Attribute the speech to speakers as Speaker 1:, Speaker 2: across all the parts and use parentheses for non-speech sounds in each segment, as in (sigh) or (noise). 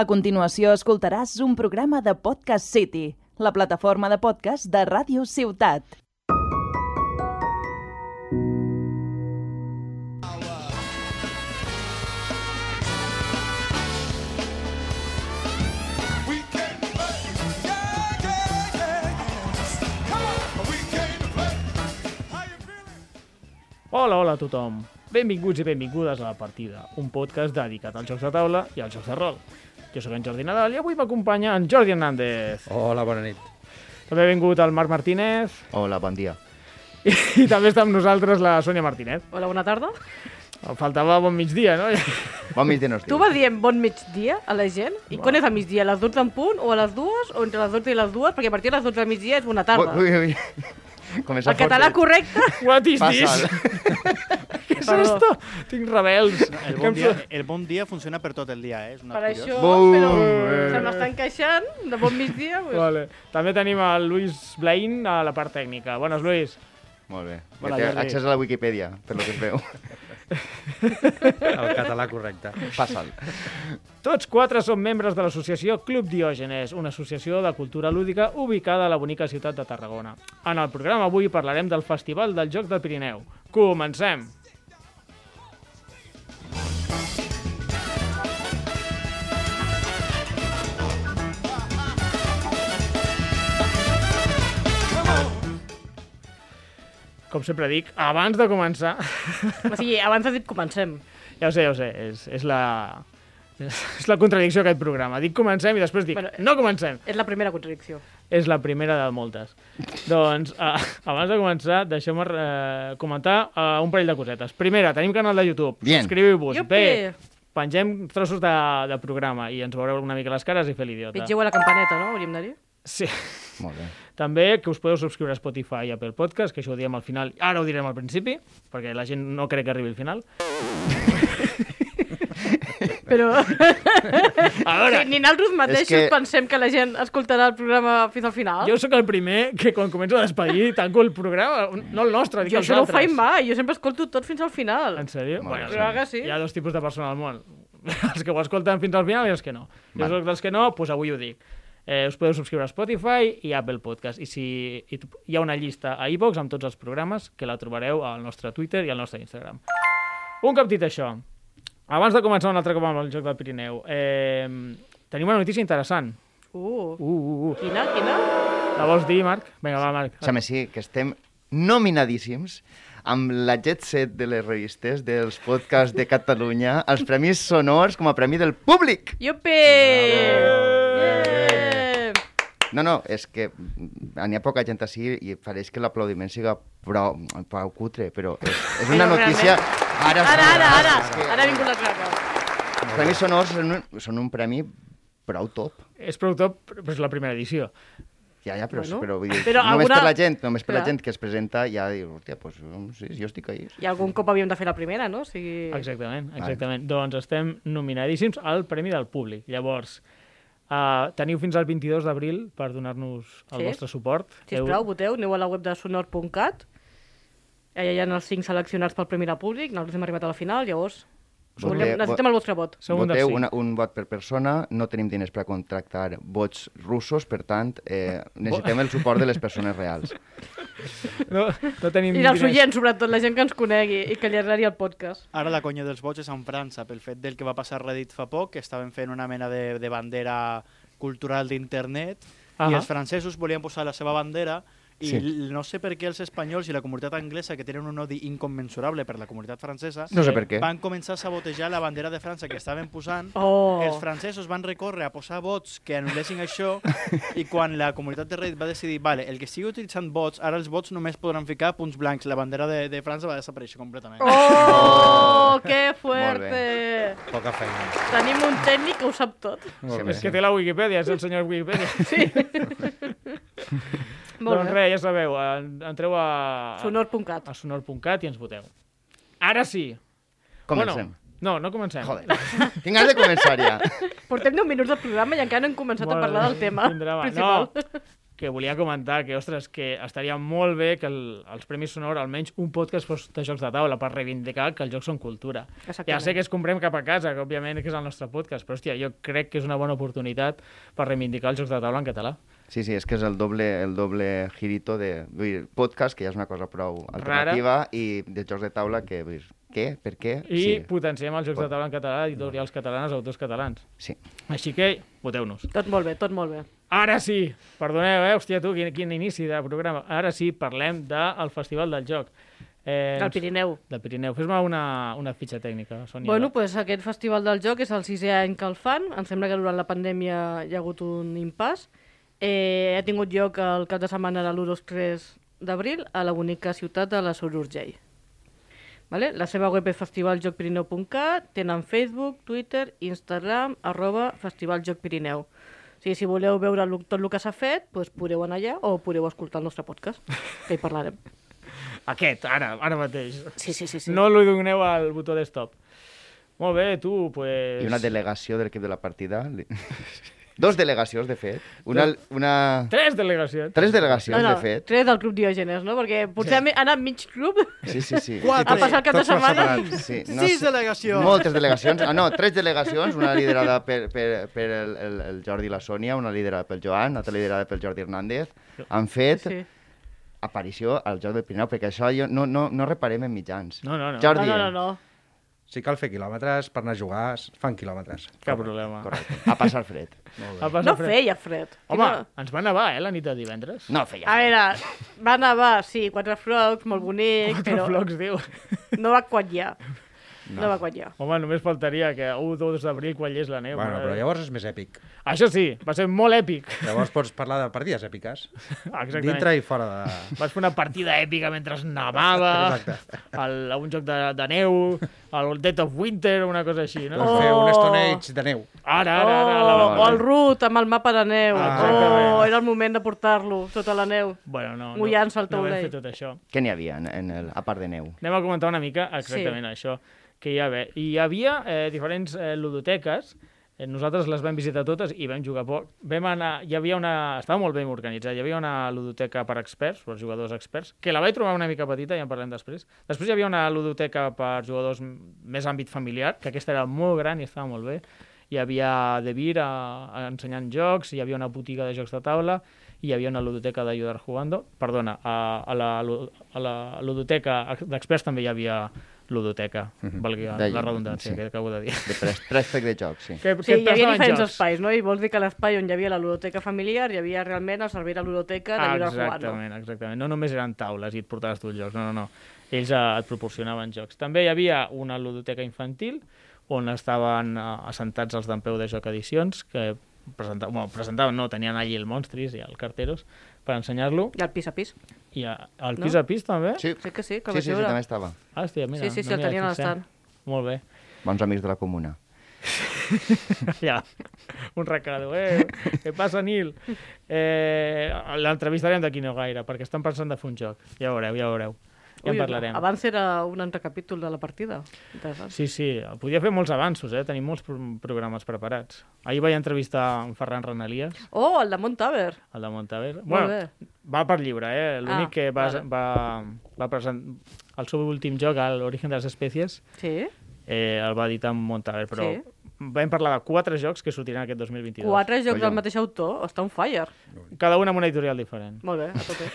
Speaker 1: A continuació escoltaràs un programa de Podcast City, la plataforma de podcast de Ràdio Ciutat.
Speaker 2: Hola, hola a tothom. Benvinguts i benvingudes a La Partida, un podcast dedicat als jocs de taula i als jocs de rol. Jo sóc en Jordi Nadal i avui m'acompanya en Jordi Hernández.
Speaker 3: Hola, bona nit.
Speaker 2: També ha vingut el Marc Martínez
Speaker 4: Hola, bon dia.
Speaker 2: i, i també està amb nosaltres la Sònia Martínez.
Speaker 5: Hola, bona tarda.
Speaker 2: Em faltava bon migdia, no? (laughs)
Speaker 4: Bon mig de nos
Speaker 5: Tu
Speaker 4: diu.
Speaker 5: vas dient bon migdia a la gent? I quan és a migdia? A les 12 en punt o a les 2 o entre les 12 i les 2? Perquè a partir de les 12 del migdia és bona tarda.
Speaker 4: Ui, ui, ui. Comença
Speaker 5: el català
Speaker 4: fortet.
Speaker 5: correcte?
Speaker 2: (laughs) What is
Speaker 4: Passa. eh?
Speaker 2: this? Què és
Speaker 5: Perdó.
Speaker 2: esto? Tinc rebels. Que
Speaker 6: El
Speaker 2: em
Speaker 6: bon, dia, el bon dia funciona per tot el dia, eh? És una
Speaker 5: Per
Speaker 6: curiós.
Speaker 5: això,
Speaker 4: Bum,
Speaker 5: però
Speaker 4: eh.
Speaker 5: se m'està encaixant de bon migdia. Pues,
Speaker 2: Vale. També tenim el Luis Blain a la part tècnica. Bones, Luis.
Speaker 4: Molt bé.
Speaker 2: Hola,
Speaker 4: Hola, té
Speaker 2: Jordi.
Speaker 4: accés a la Wikipedia, per lo que es veu.
Speaker 3: El català correcte.
Speaker 4: Passa'l.
Speaker 2: Tots quatre són membres de l'associació Club Diògenes, una associació de cultura lúdica ubicada a la bonica ciutat de Tarragona. En el programa avui parlarem del Festival del Joc del Pirineu. Comencem! Com sempre dic, abans de començar, (laughs)
Speaker 5: O sigui, abans has dit comencem.
Speaker 2: ja ho sé, ja ho sé, és, és la... És la contradicció d'aquest programa. Dic comencem i després dic
Speaker 5: Bueno,
Speaker 2: no comencem.
Speaker 5: És la primera contradicció.
Speaker 2: És la primera de moltes. doncs, uh, abans de començar, deixeu-me uh, comentar uh, un parell de cosetes. Primera, tenim canal de YouTube.
Speaker 4: Bien.
Speaker 2: Subscriviu-vos.
Speaker 5: Iupi!
Speaker 2: Bé, pengem trossos de, de programa i ens veureu una mica les cares i fer l'idiota.
Speaker 5: Pitgeu a la campaneta, no? Hauríem de dir.
Speaker 2: Sí.
Speaker 4: Molt bé.
Speaker 2: També que us podeu subscriure a Spotify i Apple Podcast, que això ho diem al final. Ara ho direm al principi, perquè la gent no crec que arribi al final.
Speaker 5: Però (laughs)
Speaker 2: A
Speaker 5: sí,
Speaker 2: veure,
Speaker 5: ni nosaltres mateixos
Speaker 4: que-
Speaker 5: que... pensem que la gent escoltarà el programa fins al final.
Speaker 2: jo sóc el primer que quan començo a despedir tanco el programa, no el nostre, dic
Speaker 5: jo
Speaker 2: els
Speaker 5: això no ho
Speaker 2: altres.
Speaker 5: faig mai, jo sempre escolto tot fins al final.
Speaker 2: En sèrio?
Speaker 4: Molt bé.
Speaker 5: Però ara sí.
Speaker 2: Hi ha dos tipus de persones al món. (laughs) els que ho escolten fins al final i els que no. Jo
Speaker 4: Vale.
Speaker 2: soc dels que no, doncs avui ho dic. Eh, us podeu subscriure a Spotify i Apple Podcast. I si i tu- hi ha una llista a iVoox amb tots els programes que la trobareu al nostre Twitter i al nostre Instagram. Un cop dit això, abans de començar un altre cop amb el Joc del Pirineu, eh, tenim una notícia interessant.
Speaker 5: Uh,
Speaker 2: Uh, uh, uh.
Speaker 5: quina, quina?
Speaker 2: La vols dir, Marc? Vinga, va, Marc.
Speaker 4: Sembla sí que estem nominadíssims amb la jet set de les revistes dels podcasts de Catalunya als Premis Sonors com a Premi del Públic.
Speaker 5: Iupi! Eh,
Speaker 4: No, no, és que n'hi ha poca gent així i fareix que l'aplaudiment siga prou, prou cutre, però és, és una
Speaker 5: Però
Speaker 4: notícia... Ara,
Speaker 5: Ara, ara, ara!
Speaker 4: és que-
Speaker 5: Ara ha vingut la claca.
Speaker 4: Els Premis Sonors són un, són un premi prou top.
Speaker 2: És productor, però és la primera edició.
Speaker 4: Ja, ja, però,
Speaker 5: Bueno,
Speaker 4: bueno, però, vull dir,
Speaker 5: però
Speaker 4: només
Speaker 5: alguna-
Speaker 4: per la gent, només per la
Speaker 5: Clar.
Speaker 4: gent que es presenta ja diu, hòstia, doncs mm, sí, jo estic ahí.
Speaker 5: I algun cop havíem de fer la primera, no? O sigui...
Speaker 2: Exactament, exactament. Doncs estem nominadíssims al Premi del Públic. Llavors, uh, teniu fins al 22 d'abril per donar-nos el
Speaker 5: Sí.
Speaker 2: vostre suport.
Speaker 5: Sisplau, voteu, aneu a la web de sonor.cat. Allà hi ha els cinc seleccionats pel Premi de Públic, nosaltres hem arribat a la final, llavors...
Speaker 4: Voteu,
Speaker 5: volem- necessitem el vostre vot.
Speaker 2: Som un dels
Speaker 4: Voteu
Speaker 2: cinc.
Speaker 4: una, un vot per persona, no tenim diners per contractar vots russos, per tant, eh, necessitem el suport de les
Speaker 2: (laughs)
Speaker 4: persones reals.
Speaker 2: No, no tenim
Speaker 5: I els
Speaker 2: diners.
Speaker 5: oients, sobretot, la gent que ens conegui i que li agradi el podcast.
Speaker 6: Ara la conya dels bots és en França, pel fet del que va passar a Reddit fa poc, que estaven fent una mena de, de bandera cultural d'internet, uh -huh.
Speaker 2: Ahà.
Speaker 6: i els francesos volien posar la seva bandera, i
Speaker 4: Sí.
Speaker 6: sí. no sé per què els espanyols i la comunitat anglesa, que tenen un odi incommensurable per la comunitat francesa,
Speaker 4: No sé per què.
Speaker 6: van començar a sabotejar la bandera de França que estaven posant.
Speaker 5: Oh!
Speaker 6: Els francesos van recórrer a posar bots que anul·lessin això i quan la comunitat de Reddit va decidir vale, el que sigui utilitzant bots, ara els bots només podran ficar punts blancs. La bandera de, de França va desaparèixer completament.
Speaker 5: Oh, que
Speaker 4: Molt
Speaker 5: fuerte!
Speaker 3: Poca feina.
Speaker 5: Tenim un tècnic que ho sap tot.
Speaker 4: Molt
Speaker 2: És que té la Wikipedia, és el senyor
Speaker 5: (laughs)
Speaker 2: Wikipedia.
Speaker 5: Sí. Molt
Speaker 2: doncs
Speaker 5: bé.
Speaker 2: res, ja sabeu, en- entreu a,
Speaker 5: Sonor.cat.
Speaker 2: a sonor.cat i ens voteu. Ara sí.
Speaker 4: Comencem.
Speaker 2: Bueno, no, no comencem.
Speaker 4: Joder, tinc ganes de començar ja.
Speaker 5: Portem 10 minuts de programa i encara no hem començat
Speaker 2: Molt
Speaker 5: a parlar
Speaker 2: bé,
Speaker 5: del tema
Speaker 2: (laughs) tindrà mà.
Speaker 5: principal.
Speaker 2: No, que volia comentar que, ostres, que estaria molt bé que el, els Premis Sonor, almenys un podcast fos de jocs de taula per reivindicar que els jocs són cultura.
Speaker 5: Exactament.
Speaker 2: Ja sé que es comprem cap a casa, que òbviament que és el nostre podcast, però hòstia, jo crec que és una bona oportunitat per reivindicar els jocs de taula en català.
Speaker 4: Sí, sí, és que és el doble, el doble girito de vull dir, podcast, que ja és una cosa prou alternativa, i de jocs de taula que, vull dir, què, per què?
Speaker 2: I sí.
Speaker 4: Sí,
Speaker 2: potenciem els jocs de taula en català, editorials catalanes, autors catalans.
Speaker 4: sí.
Speaker 2: Així que voteu-nos.
Speaker 5: Tot molt bé, tot molt bé.
Speaker 2: Ara sí! Perdoneu, eh? Hòstia, tu, quin, quin inici de programa. Ara sí, parlem del Festival del Joc. Eh,
Speaker 5: Del Pirineu.
Speaker 2: Del Pirineu. Fes-me una, una fitxa tècnica, Sònia.
Speaker 5: Bueno, pues aquest Festival del Joc és el sisè any que el fan. Em sembla que durant la pandèmia hi ha hagut un impàs. Eh, ha tingut lloc el cap de setmana de l'Uros 3 d'abril a la bonica ciutat de la Sorurgell. Vale? La seva web és festivaljocpirineu.cat, tenen Facebook, Twitter, Instagram, arroba festivaljocpirineu. O sigui, si voleu veure lo- tot el que s'ha fet, doncs podeu anar allà o podeu escoltar el nostre podcast, que hi parlarem.
Speaker 2: Aquest, ara, ara mateix.
Speaker 5: Sí, sí, sí. sí.
Speaker 2: No li doneu al botó de stop. Molt bé, tu, pues...
Speaker 4: I una delegació de l'equip de la partida. li- (laughs) Dos delegacions, de fet. Una, una...
Speaker 2: Tres delegacions.
Speaker 4: Tres delegacions, de fet.
Speaker 5: Tres del grup Diògenes, no? Perquè potser sí. ha anat mig club
Speaker 4: Sí, sí, sí.
Speaker 5: a passar el cap de
Speaker 3: tots per
Speaker 5: setmana.
Speaker 3: separat.
Speaker 4: Sí,
Speaker 6: Sis
Speaker 4: sé-
Speaker 6: delegacions.
Speaker 4: Moltes delegacions. Ah, no, tres delegacions, una liderada per, per, per el, el, el Jordi i la Sònia, una liderada pel Joan, altra liderada pel Jordi Hernández. Han fet
Speaker 5: Sí.
Speaker 4: aparició al Joc del Pirineu, perquè això jo, no, no, no reparem en mitjans.
Speaker 2: No, no, no.
Speaker 4: Jordi,
Speaker 5: No, no, no, no.
Speaker 3: Si cal fer quilòmetres, per anar a jugar, es fan quilòmetres.
Speaker 2: Cap problema.
Speaker 4: correcte, a passar fred.
Speaker 2: A passar
Speaker 5: No
Speaker 2: fred.
Speaker 5: feia fred.
Speaker 2: Home,
Speaker 5: Quina-
Speaker 2: ens va nevar, eh, la nit de divendres.
Speaker 4: No feia
Speaker 5: A veure, va nevar, sí, quatre flocs, molt bonic,
Speaker 2: Quatre
Speaker 5: (laughs) però
Speaker 2: flocs, diu.
Speaker 5: no va quatllar. No. no va quatllar.
Speaker 2: Home, només faltaria que 1 2 d'abril quallés la neu.
Speaker 3: Bueno,
Speaker 2: mare
Speaker 3: però
Speaker 2: de-
Speaker 3: llavors és més èpic.
Speaker 2: Això sí, va ser molt èpic. (laughs)
Speaker 3: Llavors pots parlar de partides èpiques.
Speaker 2: Exactament.
Speaker 3: Dintre i fora de...
Speaker 2: Vas fer una partida èpica mentre nevava,
Speaker 3: Exacte.
Speaker 2: el, un joc de, de neu, el Death of Winter, una cosa així, no?
Speaker 3: Pots fer un Stone Age de neu.
Speaker 2: Ara,
Speaker 5: Oh,
Speaker 2: ara, ara, la, la,
Speaker 5: o el Ruth amb el mapa de neu.
Speaker 2: Ah,
Speaker 5: oh,
Speaker 2: exactament.
Speaker 5: era el moment de portar-lo sota la neu.
Speaker 2: Bueno, no, no,
Speaker 5: Mullant-se el
Speaker 2: no vam
Speaker 5: taulell.
Speaker 2: fer tot això.
Speaker 4: Què n'hi havia, en, en el, a part de neu?
Speaker 2: Anem a comentar una mica exactament sí. això que hi va haver. Hi havia eh, diferents eh, ludoteques, eh, nosaltres les vam visitar totes i vam jugar poc. Vam anar, hi havia una... Estava molt ben organitzat. Hi havia una ludoteca per experts, per jugadors experts, que la vaig trobar una mica petita, ja en parlem després. Després hi havia una ludoteca per jugadors m- més àmbit familiar, que aquesta era molt gran i estava molt bé. Hi havia De Vir a, a ensenyant jocs, hi havia una botiga de jocs de taula, i hi havia una ludoteca d'Ajudar Jugando. Perdona, a, a, la, lu- a la ludoteca d'experts també hi havia ludoteca, valgui la,
Speaker 4: D'allò,
Speaker 2: la redundància
Speaker 4: Mhm. sí.
Speaker 2: que acabo de dir.
Speaker 4: De tres, tres pec de joc, sí.
Speaker 2: Que,
Speaker 5: Sí, hi havia
Speaker 2: prestaven
Speaker 5: diferents
Speaker 2: jocs.
Speaker 5: espais, no? I vols dir que l'espai on hi havia la ludoteca familiar hi havia realment el servei de ludoteca de lliure jugant, no?
Speaker 2: Exactament, exactament. No només eren taules i et portaves tu els jocs, no, no, no. Ells eh, et proporcionaven jocs. També hi havia una ludoteca infantil on estaven eh, assentats els d'en peu de joc edicions que presentaven, bueno, presentaven, no, tenien allí el Monstris i el Carteros per ensenyar-lo
Speaker 5: I el pis a pis.
Speaker 2: i eh, el
Speaker 5: No?
Speaker 2: pis a pis també?
Speaker 4: Sí,
Speaker 5: Crec que sí, que
Speaker 4: sí,
Speaker 5: vaig
Speaker 4: sí, sí,
Speaker 5: veure.
Speaker 4: també estava.
Speaker 2: Ah, hòstia, mira,
Speaker 5: Sí, sí, sí,
Speaker 2: no
Speaker 5: el
Speaker 2: m'hi vaig
Speaker 5: tenien al
Speaker 2: fixar.
Speaker 5: stand.
Speaker 2: Molt bé. (laughs)
Speaker 4: Bons amics de la comuna.
Speaker 2: allà, un recado, eh, què passa, Nil? Eh, L'entrevistarem d'aquí no gaire, perquè estan pensant de fer un joc. Ja ho veureu, ja ho veureu. Ja
Speaker 5: Ui,
Speaker 2: en parlarem.
Speaker 5: Abans era un altre capítol de la partida. Interessant.
Speaker 2: Sí, sí, podia fer molts avanços, eh? Tenim molts pro programes preparats. Ahir vaig entrevistar en Ferran Renalies,
Speaker 5: Oh, el de Montaver.
Speaker 2: el de Montaver.
Speaker 5: Molt
Speaker 2: Bueno, va per llibre, eh? L'únic
Speaker 5: Ah,
Speaker 2: que va,
Speaker 5: vale.
Speaker 2: va, va presentar... El seu últim joc, l'Origen de les Espècies,
Speaker 5: Sí?
Speaker 2: eh, el va editar en Montaver, però
Speaker 5: Sí.
Speaker 2: vam parlar de quatre jocs que sortiran aquest 2022.
Speaker 5: Quatre jocs
Speaker 4: Collons.
Speaker 5: del mateix autor. Està un fire.
Speaker 2: Cada un amb una editorial diferent.
Speaker 5: Molt bé, a tope.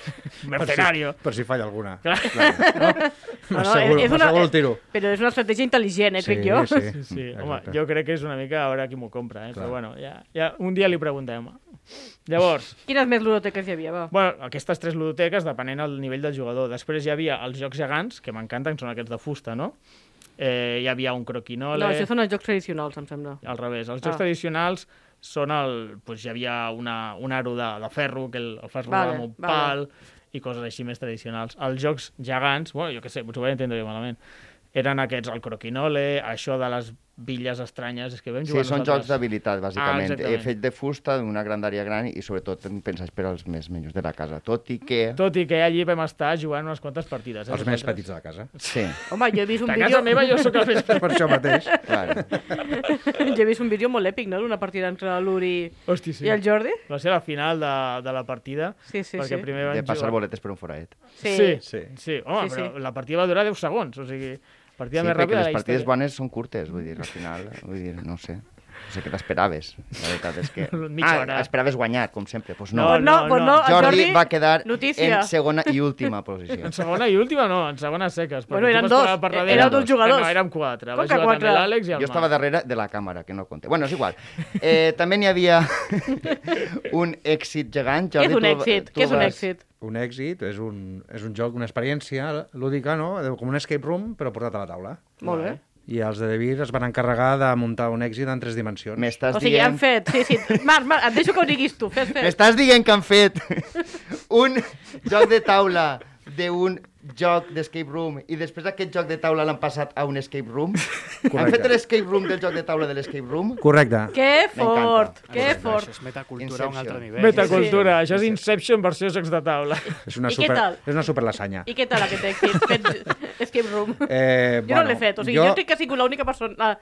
Speaker 2: Mercenario.
Speaker 5: (laughs)
Speaker 3: Per si falla alguna.
Speaker 2: Clar.
Speaker 3: M'asseguro, m'asseguro el tiro.
Speaker 5: Però és una estratègia intel·ligent, eh, crec jo.
Speaker 2: Sí, sí. Home, jo crec que és una mica a veure qui m'ho compra, eh? però bueno, ja, ja, un dia li preguntem. Llavors,
Speaker 5: (laughs) Quines més ludoteques hi havia, va?
Speaker 2: bueno, aquestes tres ludoteques, depenent del nivell del jugador. Després hi havia els jocs gegants, que m'encanten, que són aquests de fusta, no? Eh, hi havia un croquinole...
Speaker 5: No, això són els jocs tradicionals, em sembla.
Speaker 2: Al revés, els jocs
Speaker 5: Ah.
Speaker 2: tradicionals són el... Pues, hi havia una, un aro de, de ferro que el, el fas rodar
Speaker 5: Vale,
Speaker 2: amb un
Speaker 5: vale.
Speaker 2: pal i coses així més tradicionals. Els jocs gegants, bueno, jo què sé, potser ho vaig entendre jo malament, eren aquests, el croquinole, això de les villes estranyes. És que vam
Speaker 4: Sí,
Speaker 2: jugar
Speaker 4: són
Speaker 2: nosaltres.
Speaker 4: jocs d'habilitat, bàsicament.
Speaker 2: Ah,
Speaker 4: He
Speaker 2: exactament.
Speaker 4: fet de fusta, d'una grandària gran i sobretot pensats per als més menys de la casa. Tot i que...
Speaker 2: Mm. Tot i que allí vam estar jugant unes quantes partides. Eh,
Speaker 3: Els més
Speaker 2: nosaltres.
Speaker 3: petits de la casa. (laughs)
Speaker 4: Sí,
Speaker 5: Home, jo he vist un
Speaker 2: De
Speaker 5: vídeo...
Speaker 2: casa meva jo sóc el més petit.
Speaker 3: Per això mateix.
Speaker 2: (laughs)
Speaker 4: clar.
Speaker 5: (laughs) jo he vist un vídeo molt èpic, no?, d'una partida entre l'Uri
Speaker 2: Hosti,
Speaker 5: sí.
Speaker 2: sí.
Speaker 5: i el Jordi.
Speaker 2: Va ser la final de, de la partida.
Speaker 5: Sí, sí,
Speaker 2: perquè
Speaker 5: sí.
Speaker 2: primer van
Speaker 4: De passar
Speaker 2: jugar...
Speaker 4: boletes per un foradet.
Speaker 5: Sí.
Speaker 2: Sí, sí.
Speaker 3: Sí.
Speaker 2: sí. Home,
Speaker 5: Sí,
Speaker 2: sí,
Speaker 5: sí.
Speaker 2: sí. però la partida va durar 10 segons, o sigui, partida
Speaker 4: Sí,
Speaker 2: més
Speaker 4: perquè
Speaker 2: ràpida
Speaker 4: les
Speaker 2: de la
Speaker 4: partides
Speaker 2: història.
Speaker 4: bones són curtes, vull dir, al final, vull dir, no ho sé. No sé què t'esperaves. La veritat és que...
Speaker 2: (laughs) Mitja hora.
Speaker 4: Ah, esperaves guanyar, com sempre. Doncs no.
Speaker 5: Pues no,
Speaker 2: no,
Speaker 5: pues
Speaker 2: no.
Speaker 5: no, el
Speaker 4: Jordi va quedar
Speaker 5: Notícia.
Speaker 4: en segona i
Speaker 2: (laughs)
Speaker 4: última posició.
Speaker 2: En segona i última no, en segona seques. perquè
Speaker 5: Bueno,
Speaker 2: tu
Speaker 5: eren
Speaker 2: vas
Speaker 5: dos,
Speaker 2: parar per
Speaker 5: e-
Speaker 2: darrere.
Speaker 4: eren dos
Speaker 5: jugadors.
Speaker 2: Eh, No, érem quatre.
Speaker 5: Com
Speaker 2: Va
Speaker 5: que
Speaker 2: jugar
Speaker 5: quatre?
Speaker 2: també l'Àlex i el
Speaker 4: Jo estava
Speaker 2: Marc.
Speaker 4: darrere de la càmera, que no compte. Bueno, és igual. Eh, també n'hi havia (laughs) un èxit gegant. Jordi,
Speaker 5: Què és un
Speaker 4: tu eh, el va-
Speaker 5: èxit?
Speaker 4: tu
Speaker 5: Què
Speaker 4: el
Speaker 5: és un
Speaker 4: vas-
Speaker 5: èxit?
Speaker 3: Un èxit, és un, és un joc, una experiència lúdica, no? Com un escape room, però portat a la taula.
Speaker 5: Molt bé.
Speaker 3: I els de David es van encarregar de muntar un èxit en tres dimensions.
Speaker 4: M'estàs
Speaker 5: O sigui, han
Speaker 4: dient...
Speaker 5: fet... Sí, sí. Marc, Marc, et deixo que ho diguis tu. Fes, fes.
Speaker 4: M'estàs dient que han fet un joc de taula d'un joc d'escape room i després aquest joc de taula l'han passat a un escape room? Han
Speaker 3: Correcte.
Speaker 4: fet l'escape room del joc de taula de l'escape room?
Speaker 3: Correcte.
Speaker 5: Que fort,
Speaker 4: M'encanta.
Speaker 5: que
Speaker 6: Això
Speaker 5: fort.
Speaker 6: és metacultura a un
Speaker 4: Inception.
Speaker 6: altre nivell.
Speaker 2: Metacultura, això és Inception versió jocs de taula.
Speaker 3: És una,
Speaker 5: I què
Speaker 3: super,
Speaker 5: tal?
Speaker 3: és una superlasanya.
Speaker 5: I què tal aquest èxit? Fet (laughs) escape room.
Speaker 3: Eh,
Speaker 5: Jo bueno, no l'he fet, o sigui, jo... jo crec que sigut l'única persona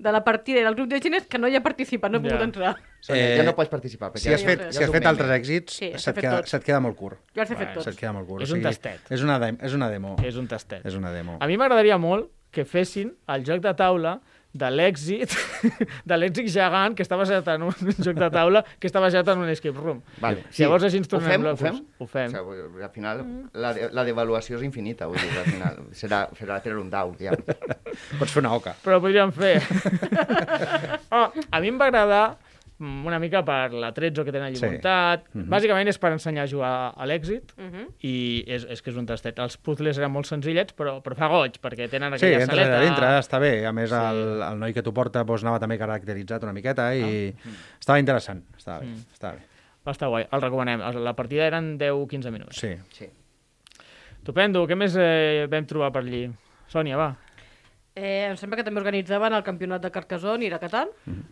Speaker 5: de la partida i del grup de gent que no hi ha participat, no he
Speaker 2: Ja.
Speaker 5: pogut entrar.
Speaker 4: Sònia,
Speaker 3: Eh,
Speaker 4: ja no pots participar. perquè
Speaker 3: Si has
Speaker 4: ja-
Speaker 3: fet,
Speaker 4: ja
Speaker 3: si
Speaker 4: és
Speaker 3: has
Speaker 4: un
Speaker 3: fet
Speaker 4: meme.
Speaker 3: altres èxits,
Speaker 5: eh? Sí, has
Speaker 3: se't,
Speaker 5: fet
Speaker 3: queda,
Speaker 5: tots.
Speaker 3: se't queda molt curt.
Speaker 5: Jo els he fet
Speaker 3: Se't
Speaker 5: tots.
Speaker 3: queda molt curt.
Speaker 2: És
Speaker 3: o
Speaker 2: un
Speaker 3: sigui,
Speaker 2: tastet.
Speaker 3: És una, dem, és una demo.
Speaker 2: (laughs) És un tastet.
Speaker 3: És una demo.
Speaker 2: A mi m'agradaria molt que fessin el joc de taula de l'èxit (laughs) de l'èxit gegant que està basat en un (laughs) joc de taula que està basat en un escape room.
Speaker 4: Vale,
Speaker 2: Sí. Llavors així ens
Speaker 4: Ho
Speaker 2: tornem
Speaker 4: fem,
Speaker 2: locos.
Speaker 4: Ho
Speaker 2: Ho
Speaker 4: fem?
Speaker 2: fem.
Speaker 4: O sigui, vull dir, al final, la, de, la devaluació és infinita, vull dir, al final. (laughs) Serà, serà treure un dau, ja.
Speaker 3: Pots fer una oca.
Speaker 2: Però ho podríem fer.
Speaker 4: (laughs)
Speaker 2: oh, a mi em va agradar mm, una mica per l'atrezzo que tenen allà
Speaker 3: Sí.
Speaker 2: muntat.
Speaker 4: Mhm.
Speaker 2: Bàsicament és per ensenyar a jugar a l'èxit
Speaker 5: Mhm.
Speaker 2: i és, és que és un tastet. Els puzzles eren molt senzillets, però, però fa goig, perquè tenen
Speaker 3: Sí,
Speaker 2: aquella
Speaker 3: entra
Speaker 2: saleta...
Speaker 3: de dintre, està bé. A més, el, el noi que t'ho porta doncs, anava també caracteritzat una miqueta i
Speaker 2: Ah.
Speaker 3: estava interessant. Estava
Speaker 2: Mm.
Speaker 3: bé, estava bé.
Speaker 2: Va estar guai, el recomanem. El- La partida eren 10-15 minuts.
Speaker 3: Sí.
Speaker 4: Sí.
Speaker 2: Estupendo, què més eh, vam trobar per allí? Sònia, va.
Speaker 5: Eh, em sembla que també organitzaven el campionat de Carcassonne i Aracatán.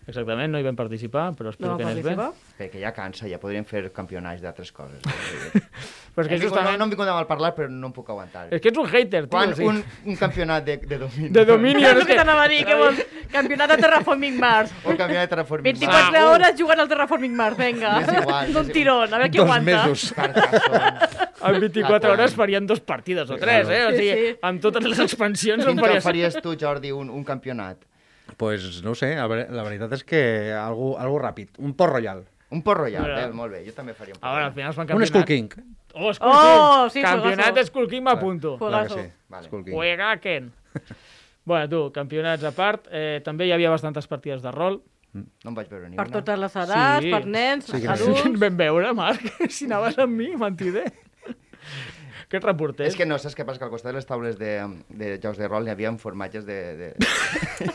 Speaker 2: Exactament, no hi vam participar, però
Speaker 5: No
Speaker 2: espero
Speaker 5: va
Speaker 2: Mm. que anés bé.
Speaker 5: participar.
Speaker 4: Perquè ja cansa, ja podríem fer campionats d'altres coses.
Speaker 2: Però és que,
Speaker 4: Em dic,
Speaker 2: justament...
Speaker 4: no, no em vinc de mal parlar, però no em puc aguantar.
Speaker 2: És que ets un hater, tio.
Speaker 4: Quan
Speaker 2: sí.
Speaker 4: un, un campionat de, de domini...
Speaker 2: De
Speaker 4: (laughs)
Speaker 2: domini,
Speaker 5: Mira,
Speaker 2: és
Speaker 5: és el que
Speaker 2: que-
Speaker 5: t'anava a dir, que vols? Campionat de Terraforming Mars.
Speaker 4: O campionat de terraformisme.
Speaker 5: 24
Speaker 2: Ah, uh.
Speaker 5: hores jugant al Terraforming Mars, vinga.
Speaker 4: M'és igual, m'és
Speaker 5: D'un
Speaker 4: igual.
Speaker 5: tirón, a veure qui
Speaker 3: Dos
Speaker 5: aguanta.
Speaker 3: mesos.
Speaker 2: (laughs)
Speaker 4: Carcassons.
Speaker 2: En 24
Speaker 4: Ah,
Speaker 2: hores
Speaker 4: quan?
Speaker 2: farien dos partides o tres, eh? O
Speaker 5: Sí,
Speaker 2: sigui,
Speaker 5: sí.
Speaker 2: amb totes les expansions en
Speaker 4: Quin joc
Speaker 2: faries...
Speaker 4: faries tu, Jordi, un, un campionat?
Speaker 3: pues, no ho sé, la, ver- la veritat és que algú, algú ràpid, un port royal,
Speaker 4: Un Port Royal,
Speaker 2: Mira.
Speaker 4: eh? molt bé, jo també faria un Port
Speaker 2: A veure, al
Speaker 4: Royal.
Speaker 2: final es fan
Speaker 3: un
Speaker 2: campionat.
Speaker 3: Skull King.
Speaker 2: Oh, Skull
Speaker 5: Oh,
Speaker 2: King.
Speaker 5: sí,
Speaker 2: campionat
Speaker 5: juegazo.
Speaker 2: Skull King m'apunto.
Speaker 5: Juega-
Speaker 3: Clar que
Speaker 5: Juegazo.
Speaker 3: sí,
Speaker 4: Vale.
Speaker 3: Skull King.
Speaker 2: Juega Ken. (laughs) bueno, tu, campionats a part. Eh, també hi havia bastantes partides de rol.
Speaker 4: No en vaig veure ni
Speaker 5: Per
Speaker 4: una.
Speaker 5: totes les edats,
Speaker 2: Sí.
Speaker 5: per nens,
Speaker 3: Sí, que
Speaker 5: adults...
Speaker 2: Quin (laughs) vam veure, Marc? Si anaves amb mi, mentider. Aquest reporter.
Speaker 4: És que no, saps què passa? Que al costat de les taules de, de jocs de rol hi havia formatges de... de... (laughs)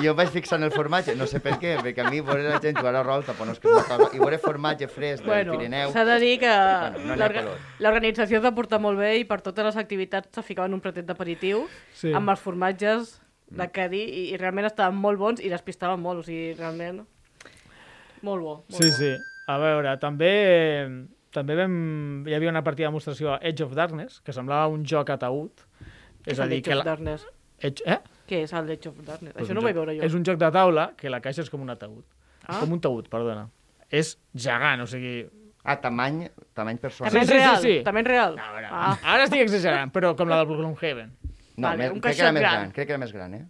Speaker 4: I jo em vaig fixar en el formatge, no sé per què, perquè a mi veure la gent jugar a rol tampoc no és que m'acaba. I veure formatge fresc del
Speaker 5: Bueno,
Speaker 4: Pirineu...
Speaker 5: s'ha de dir que
Speaker 4: no n'hi ha
Speaker 5: l'orga-
Speaker 4: calor.
Speaker 5: l'organització es va portar molt bé i per totes les activitats se ficaven un platet d'aperitiu
Speaker 2: Sí.
Speaker 5: sí. amb els formatges de
Speaker 2: Mm.
Speaker 5: Cadí i, i realment estaven molt bons i les pistaven molt, o sigui, realment... Molt bo. Molt
Speaker 2: Sí,
Speaker 5: bo.
Speaker 2: sí. A veure, també... També vam... hi havia una partida de demostració a Edge of Darkness, que semblava un joc ataúd.
Speaker 5: Què
Speaker 2: És a dir, que...
Speaker 5: La...
Speaker 2: La...
Speaker 5: Darkness?
Speaker 2: Edge... Eh?
Speaker 5: Què és el Age of Darkness?
Speaker 2: Pues
Speaker 5: Això
Speaker 2: un
Speaker 5: no ho vaig
Speaker 2: joc-
Speaker 5: veure jo.
Speaker 2: És un joc de taula que la caixa és com un ataúd. Ah.
Speaker 5: Ah.
Speaker 2: És com un taüt, perdona. És gegant, o sigui...
Speaker 4: A tamany, tamany personal.
Speaker 5: També és
Speaker 2: Sí, sí, sí,
Speaker 5: real?
Speaker 2: sí.
Speaker 5: També és real?
Speaker 2: A veure,
Speaker 5: Ah,
Speaker 2: Ara estic exagerant, però com la del Gloomhaven.
Speaker 4: No,
Speaker 5: Vale,
Speaker 4: vale,
Speaker 5: un
Speaker 4: crec que era
Speaker 5: caixet
Speaker 4: més
Speaker 5: gran.
Speaker 4: gran. Crec que era més gran, eh?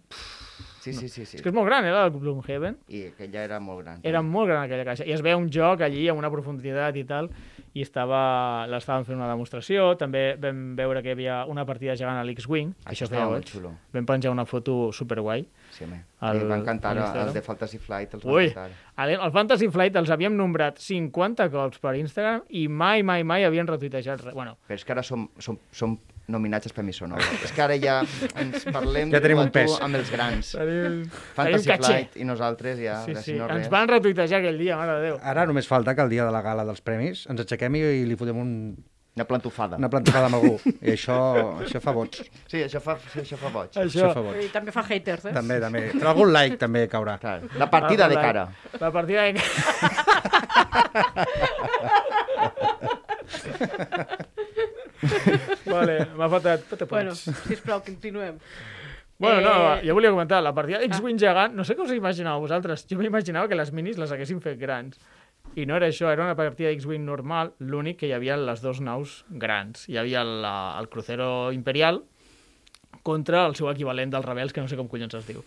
Speaker 4: Sí, sí, sí. sí.
Speaker 2: És que és molt gran, eh, la del Gloomhaven.
Speaker 4: I que ja era molt gran.
Speaker 2: Era molt gran aquella caixa. I es veia un joc allí amb una profunditat i tal, i estava... l'estaven fent una demostració. També vam veure que hi havia una partida gegant a l'X-Wing.
Speaker 4: Això
Speaker 2: feia
Speaker 4: estava
Speaker 2: goig.
Speaker 4: molt xulo.
Speaker 2: Vam penjar una foto superguai.
Speaker 4: Sí, home.
Speaker 2: El-
Speaker 4: El... Van cantar
Speaker 2: el Instagram.
Speaker 4: els de Fantasy Flight, els
Speaker 2: Ui,
Speaker 4: van cantar.
Speaker 2: el, el Fantasy Flight els havíem nombrat 50 cops per Instagram i mai, mai, mai havien retuitejat res. Bueno,
Speaker 4: Però és que ara som, som, som nominats als Premis Sonora. és que ara ja ens parlem
Speaker 3: Ja
Speaker 4: de
Speaker 3: tenim
Speaker 4: tu
Speaker 3: un
Speaker 4: a tu
Speaker 3: pes.
Speaker 4: amb els grans.
Speaker 2: tenim, tenim
Speaker 4: Fantasy
Speaker 2: caché.
Speaker 4: Flight i nosaltres ja...
Speaker 2: Sí,
Speaker 4: ara
Speaker 2: sí,
Speaker 4: no
Speaker 2: ens
Speaker 4: res.
Speaker 2: van retuitejar aquell dia, mare de Déu.
Speaker 3: Ara només falta que el dia de la gala dels premis ens aixequem i, i li fotem un...
Speaker 4: Una plantofada.
Speaker 3: una plantofada amb algú. I això, això fa vots.
Speaker 4: Sí, això fa, sí, això fa boig.
Speaker 3: Això,
Speaker 2: Això,
Speaker 3: fa vots.
Speaker 5: I també fa haters, eh?
Speaker 3: També, també. Però algun like també caurà.
Speaker 4: Clar, la partida de
Speaker 2: la-
Speaker 4: cara.
Speaker 2: La partida de cara. vale, m'ha faltat... Te
Speaker 5: Bueno,
Speaker 2: bueno.
Speaker 5: sisplau, continuem.
Speaker 2: bueno, no,
Speaker 5: Eh,
Speaker 2: jo volia comentar, la partida X-Wing gegant, no sé com us imaginava vosaltres, jo m'imaginava que les minis les haguessin fet grans. I no era això, era una partida X-Wing normal, l'únic que hi havia les dues naus grans. Hi havia la, el crucero imperial contra el seu equivalent dels rebels, que no sé com collons es diu.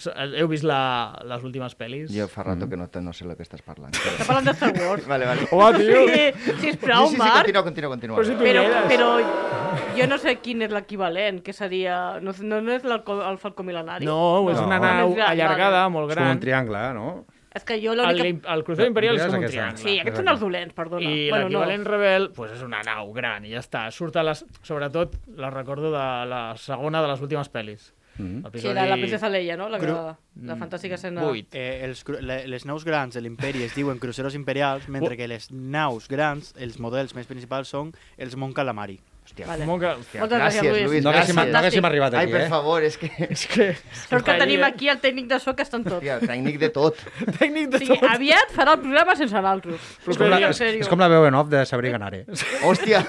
Speaker 2: So- Heu vist la, les últimes pel·lis?
Speaker 4: Jo fa rato que no, te- no sé el que estàs parlant.
Speaker 5: Està parlant de Star Wars.
Speaker 4: (laughs)
Speaker 2: (laughs)
Speaker 4: vale, vale.
Speaker 2: Home, tio!
Speaker 5: Sí, sisplau,
Speaker 4: sí, sí, sí,
Speaker 5: Marc.
Speaker 4: continua, continua, continua.
Speaker 2: Però si tu-
Speaker 5: Però,
Speaker 2: Pinedes.
Speaker 5: però jo no sé quin és l'equivalent, que seria... No, sé- no, no és l'alco- el Falcó Milenari?
Speaker 2: No, és
Speaker 3: No.
Speaker 2: una
Speaker 3: No és
Speaker 2: nau
Speaker 5: gran,
Speaker 2: allargada, molt
Speaker 3: És com
Speaker 2: gran.
Speaker 3: un triangle, eh, no?
Speaker 5: És que jo
Speaker 2: El,
Speaker 5: l'única...
Speaker 2: el crucero imperial és
Speaker 3: Mira,
Speaker 2: com un
Speaker 3: és aquesta.
Speaker 2: triangle.
Speaker 5: Sí, aquests són els dolents, perdona.
Speaker 2: I l'equivalent rebel pues, és una nau gran i ja està. Surt a les... Sobretot la recordo de la segona de les últimes pel·lis. Mm -hmm.
Speaker 5: Sí, la, la princesa Leia, no? La, que, la fantàstica escena...
Speaker 2: Vuit.
Speaker 6: Eh, els, cru- le- les naus grans de l'imperi es diuen cruceros imperials, mentre que les naus grans, els models més principals, són els Mon Calamari.
Speaker 4: Hòstia,
Speaker 5: Vale.
Speaker 2: Com que...
Speaker 4: hòstia,
Speaker 5: Moltes gràcies, Lluís.
Speaker 4: Lluís,
Speaker 3: No haguéssim,
Speaker 4: gràcies.
Speaker 3: no haguéssim arribat
Speaker 4: Ai,
Speaker 3: aquí,
Speaker 4: per
Speaker 3: eh?
Speaker 4: favor, és que...
Speaker 2: És que...
Speaker 5: Sort que
Speaker 2: Estaria-
Speaker 5: tenim aquí el tècnic de so que està en tot.
Speaker 4: (laughs) Hòstia, el tècnic de tot.
Speaker 2: Tècnic de
Speaker 5: O sigui,
Speaker 2: tot.
Speaker 5: aviat farà el programa sense naltros.
Speaker 3: És com, la, és, és com la veu en off de Sabrina Ganare.
Speaker 4: (laughs) Hòstia,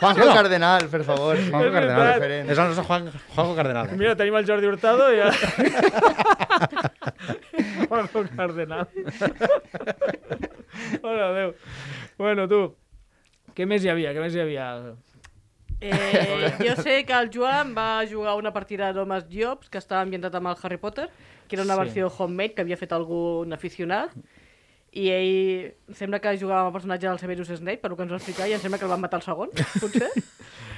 Speaker 4: Juanjo Cardenal, per favor.
Speaker 3: Juanjo Cardenal.
Speaker 4: Referent.
Speaker 3: És el nostre Juan, Juanjo Cardenal. eh?
Speaker 2: Mira, tenim el Jordi Hurtado
Speaker 5: (laughs)
Speaker 2: (laughs) i... el- Juanjo Cardenal. (laughs) Hola, Déu. Bueno, tu, què més hi havia? Què més hi havia? (laughs)
Speaker 5: Eh, jo sé que el Joan va jugar una partida d'Homes Jobs que estava ambientat amb el Harry Potter, que era una
Speaker 2: Sí.
Speaker 5: sí. versió homemade que havia fet algun aficionat, i ell sembla que jugava amb el personatge del Severus Snape, per lo que ens va explicar, i em sembla que el van matar el segon, potser.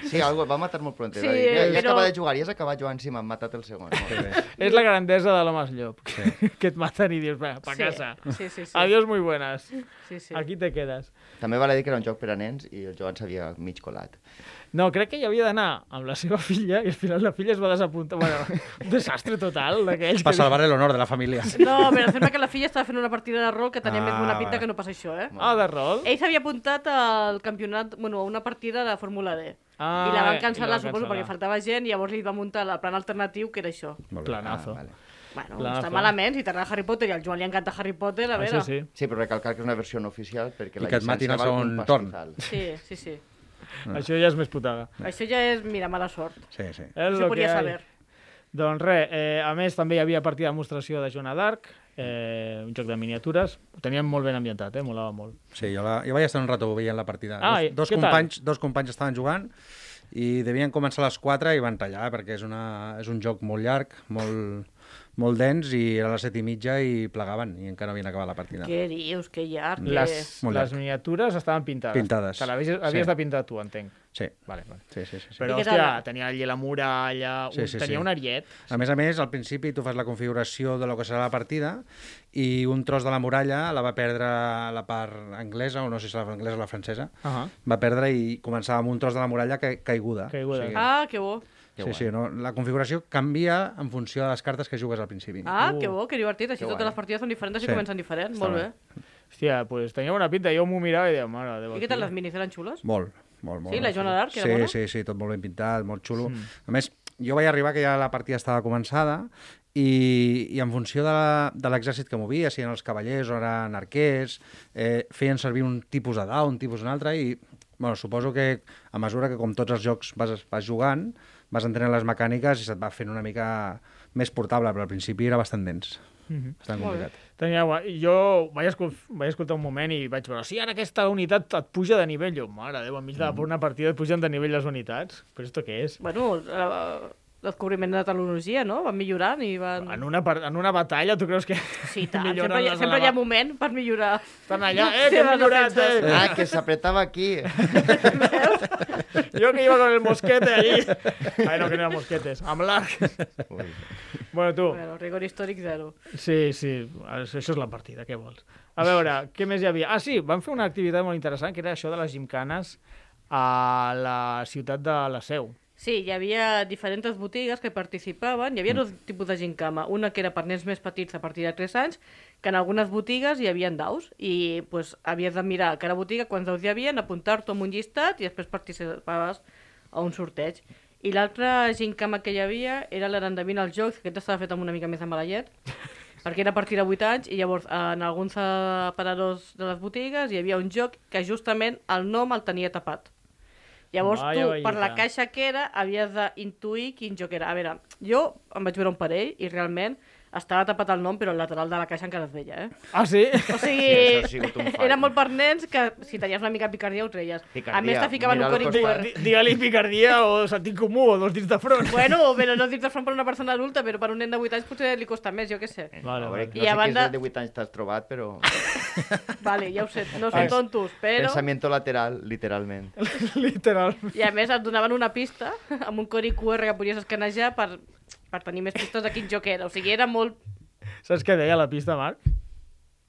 Speaker 4: Sí, algo, va matar molt pront.
Speaker 5: Sí,
Speaker 4: Sí, dir, ja, ja
Speaker 5: però-
Speaker 4: acaba de jugar, ja has acabat jugant, sí, m'han matat el segon. Molt bé.
Speaker 2: És la grandesa de l'home llop, que, que et maten i dius, va, (laughs) pa casa.
Speaker 5: Sí, sí, sí.
Speaker 2: Adiós, muy buenas.
Speaker 5: Sí, sí.
Speaker 2: Aquí te quedes.
Speaker 4: També vale dir que era un joc per a nens i el Joan s'havia mig colat.
Speaker 2: No, crec que hi havia d'anar amb la seva (laughs) filla i al final la filla es va desapuntar. Bueno, un desastre total d'aquells.
Speaker 3: Per
Speaker 2: que-
Speaker 3: salvar l'honor de la família.
Speaker 5: No, però em sembla que la filla estava fent una partida de rol que tenia
Speaker 3: Ah,
Speaker 5: més bona pinta
Speaker 3: vale.
Speaker 5: que no passa això, eh?
Speaker 2: Ah, de rol?
Speaker 5: Ell s'havia apuntat al campionat, bueno, a una partida de Fórmula D.
Speaker 2: Ah,
Speaker 5: I la
Speaker 2: i
Speaker 5: van
Speaker 2: la
Speaker 5: cancel·lar,
Speaker 2: van
Speaker 5: suposo,
Speaker 2: cancel·lar.
Speaker 5: perquè faltava gent, i llavors li va muntar el plan alternatiu, que era això.
Speaker 3: Molt bé.
Speaker 2: Planazo.
Speaker 4: Ah, vale.
Speaker 5: Bueno,
Speaker 2: Clar,
Speaker 5: clar, està
Speaker 2: clar.
Speaker 5: clar. malament, si t'agrada Harry Potter i al Joan li encanta Harry Potter, a veure...
Speaker 2: Això sí.
Speaker 4: Sí, però recalcar que és una versió no oficial perquè
Speaker 3: I
Speaker 4: la
Speaker 3: que et matin
Speaker 4: llicència
Speaker 3: al
Speaker 4: val un
Speaker 3: segon torn.
Speaker 4: pastizal.
Speaker 5: Sí, sí,
Speaker 2: (laughs)
Speaker 5: sí.
Speaker 2: Això ja és més putada.
Speaker 5: Això ja és, mira, mala sort.
Speaker 3: Sí, sí.
Speaker 2: És
Speaker 5: Això
Speaker 2: lo que
Speaker 5: podria
Speaker 2: hay.
Speaker 5: saber.
Speaker 2: Doncs res, eh, a més també hi havia partida de demostració de Joana d'Arc, eh, un joc de miniatures. Ho tenien molt ben ambientat, eh? molava molt.
Speaker 3: Sí, jo, la, jo vaig estar un rato veient la partida.
Speaker 2: Ah, i
Speaker 3: dos, dos,
Speaker 2: què tal?
Speaker 3: companys, dos companys estaven jugant i devien començar a les 4 i van tallar perquè és, una, és un joc molt llarg, molt, molt dens i era a les 7 i mitja i plegaven i encara no havien acabat la partida.
Speaker 5: Què dius, que llarg, que...
Speaker 2: Les,
Speaker 3: Mm. Molt
Speaker 2: les
Speaker 3: llarg.
Speaker 2: miniatures estaven pintades.
Speaker 3: Pintades.
Speaker 2: Te l'havies havies
Speaker 3: Sí.
Speaker 2: de pintar tu, entenc.
Speaker 3: Sí.
Speaker 2: Vale, vale.
Speaker 3: Sí, sí, sí, sí.
Speaker 2: Però,
Speaker 5: I què tal?
Speaker 2: hòstia, tenia allí la muralla, un,
Speaker 3: Sí, sí,
Speaker 2: tenia
Speaker 3: sí.
Speaker 2: un ariet.
Speaker 3: A més a més, al principi tu fas la configuració de lo que serà la partida i un tros de la muralla la va perdre la part anglesa, o no sé si la anglesa o la francesa,
Speaker 2: Uh -huh.
Speaker 3: va perdre i començava amb un tros de la muralla ca caiguda.
Speaker 2: Caiguda.
Speaker 3: O sigui,
Speaker 5: Ah, que bo.
Speaker 3: Sí, sí, no? la configuració canvia en funció de les cartes que jugues al principi.
Speaker 5: Ah,
Speaker 2: Uh.
Speaker 5: que bo, que divertit. Així totes
Speaker 4: guai.
Speaker 5: les partides són diferents, així
Speaker 3: Sí.
Speaker 5: comencen diferents. Molt bé.
Speaker 2: Hòstia, pues tenia bona pinta. Jo m'ho mirava i deia, mare de Déu.
Speaker 5: I què tal les minis? Eren xules?
Speaker 3: Molt, molt, molt.
Speaker 5: Sí, la Joana d'Arc,
Speaker 3: Sí,
Speaker 5: era bona?
Speaker 3: sí, sí, tot molt ben pintat, molt xulo. Mm. A més, jo vaig arribar que ja la partida estava començada i, i en funció de, de l'exèrcit que movia, si eren els cavallers o eren arquers, eh, feien servir un tipus de dau, un tipus un altre, i bueno, suposo que a mesura que com tots els jocs vas, vas jugant, vas entenent les mecàniques i se't va fent una mica més portable, però al principi era bastant dens. Mm
Speaker 5: Mm-hmm.
Speaker 3: -hmm. Bastant complicat.
Speaker 2: Tenia, gua- jo vaig, escol... vaig escoltar un moment i vaig veure, sí, ara aquesta unitat et puja de nivell. Jo, mare de Déu, enmig
Speaker 4: Mm.
Speaker 2: de una partida et pugen de nivell les unitats. Però esto què és?
Speaker 5: Bueno, eh, descobriment de la tecnologia, no? Van millorant i van...
Speaker 2: En una, par- en una batalla tu creus que...
Speaker 5: Sí,
Speaker 2: (laughs)
Speaker 5: tant.
Speaker 2: milloren
Speaker 5: Sempre, hi ha,
Speaker 2: les
Speaker 5: sempre hi ha
Speaker 2: eleva-
Speaker 5: moment per millorar.
Speaker 2: Estan
Speaker 5: (laughs)
Speaker 2: allà,
Speaker 5: les
Speaker 2: eh, que he
Speaker 5: seves
Speaker 2: millorat,
Speaker 5: defenses.
Speaker 2: eh.
Speaker 4: (laughs) Ah, que s'apretava aquí.
Speaker 2: Jo que iba con el mosquete
Speaker 4: (laughs)
Speaker 2: allí. Ai, no, que no era mosquetes, amb l'arc.
Speaker 4: Ui.
Speaker 2: Bueno, tu,
Speaker 5: Bueno, rigor històric zero.
Speaker 2: Sí, sí, això és la partida, què vols? A veure, què més hi havia? Ah, sí, van fer una activitat molt interessant, que era això de les gimcanes a la ciutat de la Seu.
Speaker 5: Sí, hi havia diferents botigues que participaven, hi havia dos tipus de gincama, una que era per nens més petits a partir de 3 anys, que en algunes botigues hi havia daus, i pues, havies de mirar a cada botiga quants daus hi havia, apuntar-t'ho en un llistat i després participaves a un sorteig. I l'altra gincama que hi havia era l'Arendavina als Jocs, que aquest estava fet amb una mica més de mala llet, perquè era a partir de 8 anys i llavors eh, en alguns aparadors de les botigues hi havia un joc que justament el nom el tenia tapat. Llavors
Speaker 2: Vaya
Speaker 5: tu, per la
Speaker 2: velleta.
Speaker 5: caixa que era, havies d'intuir quin joc era. A veure, jo em vaig veure un parell i realment estava tapat el nom, però el lateral de la caixa encara es veia, eh?
Speaker 2: Ah, sí?
Speaker 5: O
Speaker 4: Sí, això ha
Speaker 5: sigui,
Speaker 4: sigut un fall.
Speaker 5: (laughs) era molt per nens que si tenies una mica de picardia ho treies. a més,
Speaker 4: Picardia,
Speaker 5: te ficaven
Speaker 4: mira
Speaker 5: un
Speaker 4: al
Speaker 5: codi
Speaker 4: costat.
Speaker 5: QR.
Speaker 2: Di- Digue-li picardia o sentit comú o dos dits de front.
Speaker 5: Bueno, però no dic de front per una persona adulta, però per un nen de 8 anys potser li costa més, jo què sé.
Speaker 2: Vale,
Speaker 4: A
Speaker 2: vale.
Speaker 4: veure,
Speaker 5: I
Speaker 4: no sé
Speaker 5: a
Speaker 4: a banda...
Speaker 5: banda-
Speaker 4: de 8 anys t'has trobat, però...
Speaker 5: Vale, ja ho sé, no són tontos, però...
Speaker 4: Pensamiento lateral, literalment.
Speaker 2: Literal.
Speaker 5: I a més et donaven una pista amb un codi QR que podies escanejar per, per tenir més pistes de quin joc era. O sigui, era molt...
Speaker 2: Saps què deia la pista, Marc?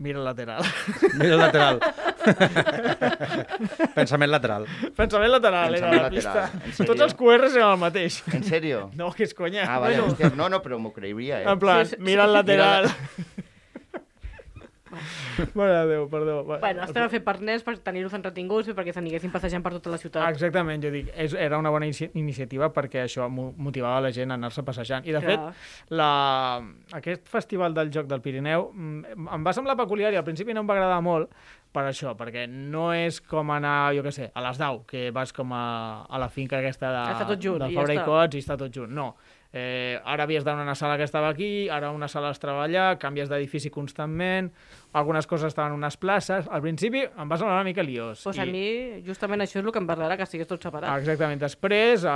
Speaker 2: Mira el lateral.
Speaker 3: Mira el lateral. (laughs) Pensament lateral.
Speaker 2: Pensament lateral
Speaker 4: Pensament
Speaker 2: era la
Speaker 4: lateral, en
Speaker 2: pista.
Speaker 4: sèrio.
Speaker 2: Tots els QRs eren el mateix. (laughs)
Speaker 4: En sèrio?
Speaker 2: No, que és conya.
Speaker 4: Ah, vale, bueno. hòstia, no, no, però m'ho creuria, eh?
Speaker 2: En plan,
Speaker 5: Sí, sí,
Speaker 2: mira el
Speaker 5: sí.
Speaker 2: lateral. (laughs) Mare de Déu, perdó. Va-
Speaker 5: Bueno, estava fet per nens, per tenir-los entretinguts i perquè s'aniguessin passejant per tota la ciutat.
Speaker 2: Exactament, jo dic, és, era una bona inici iniciativa perquè això mo- motivava la gent a anar-se passejant. I, de
Speaker 5: Clar.
Speaker 2: fet, la, aquest festival del Joc del Pirineu mm, em va semblar peculiar i al principi no em va agradar molt per això, perquè no és com anar, jo què sé, a les Dau, que vas com a, a la finca aquesta de,
Speaker 5: Està tot junt,
Speaker 2: de
Speaker 5: i ja
Speaker 2: Fabra i
Speaker 5: està.
Speaker 2: Cots i està tot junt. No, eh, ara havies d'anar a una sala que estava aquí, ara a una sala es treballa, canvies d'edifici constantment, algunes coses estaven en unes places... Al principi em va semblar una mica liós.
Speaker 5: Pues
Speaker 2: i-
Speaker 5: a mi, justament això és el que em va agradar, que estigués tot
Speaker 2: Ah,
Speaker 5: separat.
Speaker 2: Exactament. Després, a,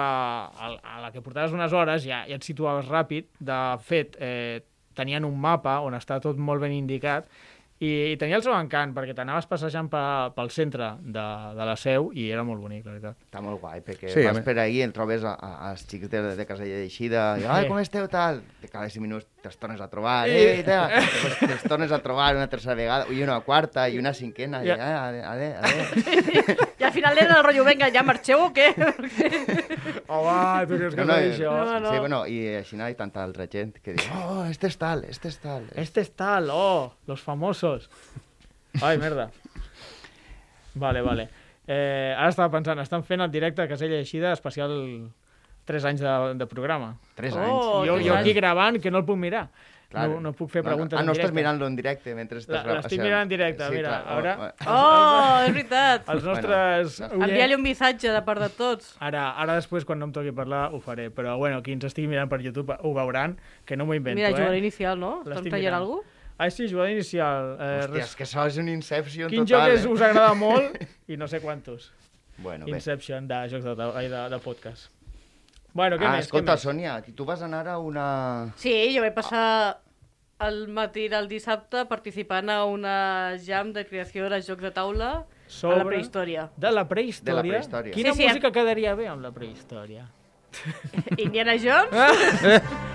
Speaker 2: a, a la que portaves unes hores, ja, ja et situaves ràpid. De fet, eh, tenien un mapa on està tot molt ben indicat i, i tenia el seu encant, perquè t'anaves passejant pe, pel centre de, de la seu i era molt bonic, la veritat.
Speaker 4: Està molt guai, perquè
Speaker 3: Sí,
Speaker 4: sí,
Speaker 3: a
Speaker 4: vas
Speaker 3: mi-
Speaker 4: per ahir, el trobes a, a, als xics de, de Casella d'Eixida, i, ai, com esteu, tal? De cada 5 minuts te'ls tornes a trobar, eh, i tal. Pues te'ls tornes a trobar una tercera vegada, i una quarta, i una cinquena, i,
Speaker 2: Ja.
Speaker 4: eh, ade, ade, ade.
Speaker 5: I al final era el rotllo, venga, ja marxeu o
Speaker 2: (laughs)
Speaker 5: què?
Speaker 2: Home, tu creus que no,
Speaker 4: i-
Speaker 2: això?
Speaker 5: No, no.
Speaker 4: Sí, bueno, i així n'hi ha tanta altra gent que diu, oh, este és tal, este és tal.
Speaker 2: Este es tal, oh, los famosos. Ai, merda. Vale, vale. Eh, ara estava pensant, estan fent el directe de Casella i Eixida especial 3 anys de, de programa.
Speaker 4: 3
Speaker 5: Oh,
Speaker 4: anys.
Speaker 5: Jo-
Speaker 2: Jo,
Speaker 5: Clar.
Speaker 2: jo aquí gravant, que no el puc mirar.
Speaker 4: Clar.
Speaker 2: No, no puc fer preguntes
Speaker 4: Ah, no
Speaker 2: en
Speaker 4: estàs
Speaker 2: directe.
Speaker 4: mirant-lo en directe mentre estàs...
Speaker 2: La-
Speaker 4: gra-
Speaker 2: l'estic
Speaker 4: o sigui,
Speaker 2: mirant en directe, mira,
Speaker 4: clar,
Speaker 2: ara-
Speaker 4: oh, oh.
Speaker 5: Oh, és veritat.
Speaker 2: Els nostres...
Speaker 4: Bueno,
Speaker 2: Bueno,
Speaker 5: Envia-li un missatge de part de tots.
Speaker 2: Ara, ara després, quan no em toqui parlar, ho faré. Però, bueno, qui ens estigui mirant per YouTube ho veuran, que no m'ho invento,
Speaker 5: Mira, jugador
Speaker 2: eh?
Speaker 5: inicial, no? Estan
Speaker 2: L'estic
Speaker 5: traient
Speaker 2: mirant.
Speaker 5: algú?
Speaker 2: Ah, sí, jugador inicial. Eh,
Speaker 4: Hòstia, és
Speaker 2: res...
Speaker 4: que això és un Inception
Speaker 2: Quin joc
Speaker 4: total, eh.
Speaker 2: és, us agrada molt i no sé
Speaker 4: (laughs)
Speaker 2: quantos.
Speaker 4: Bueno, bé.
Speaker 2: Inception de jocs de, taula- ai, de, de podcast. Bueno, què
Speaker 4: ah,
Speaker 2: més? què
Speaker 4: escolta,
Speaker 2: més?
Speaker 4: Sònia, tu vas anar a una...
Speaker 5: Sí, jo vaig passar el matí del dissabte participant a una jam de creació de jocs de taula a la
Speaker 2: Sobre-
Speaker 5: prehistòria.
Speaker 2: De la prehistòria?
Speaker 4: De la prehistòria.
Speaker 2: Quina
Speaker 5: Sí, sí,
Speaker 2: música quedaria bé amb la prehistòria?
Speaker 5: Indiana Jones?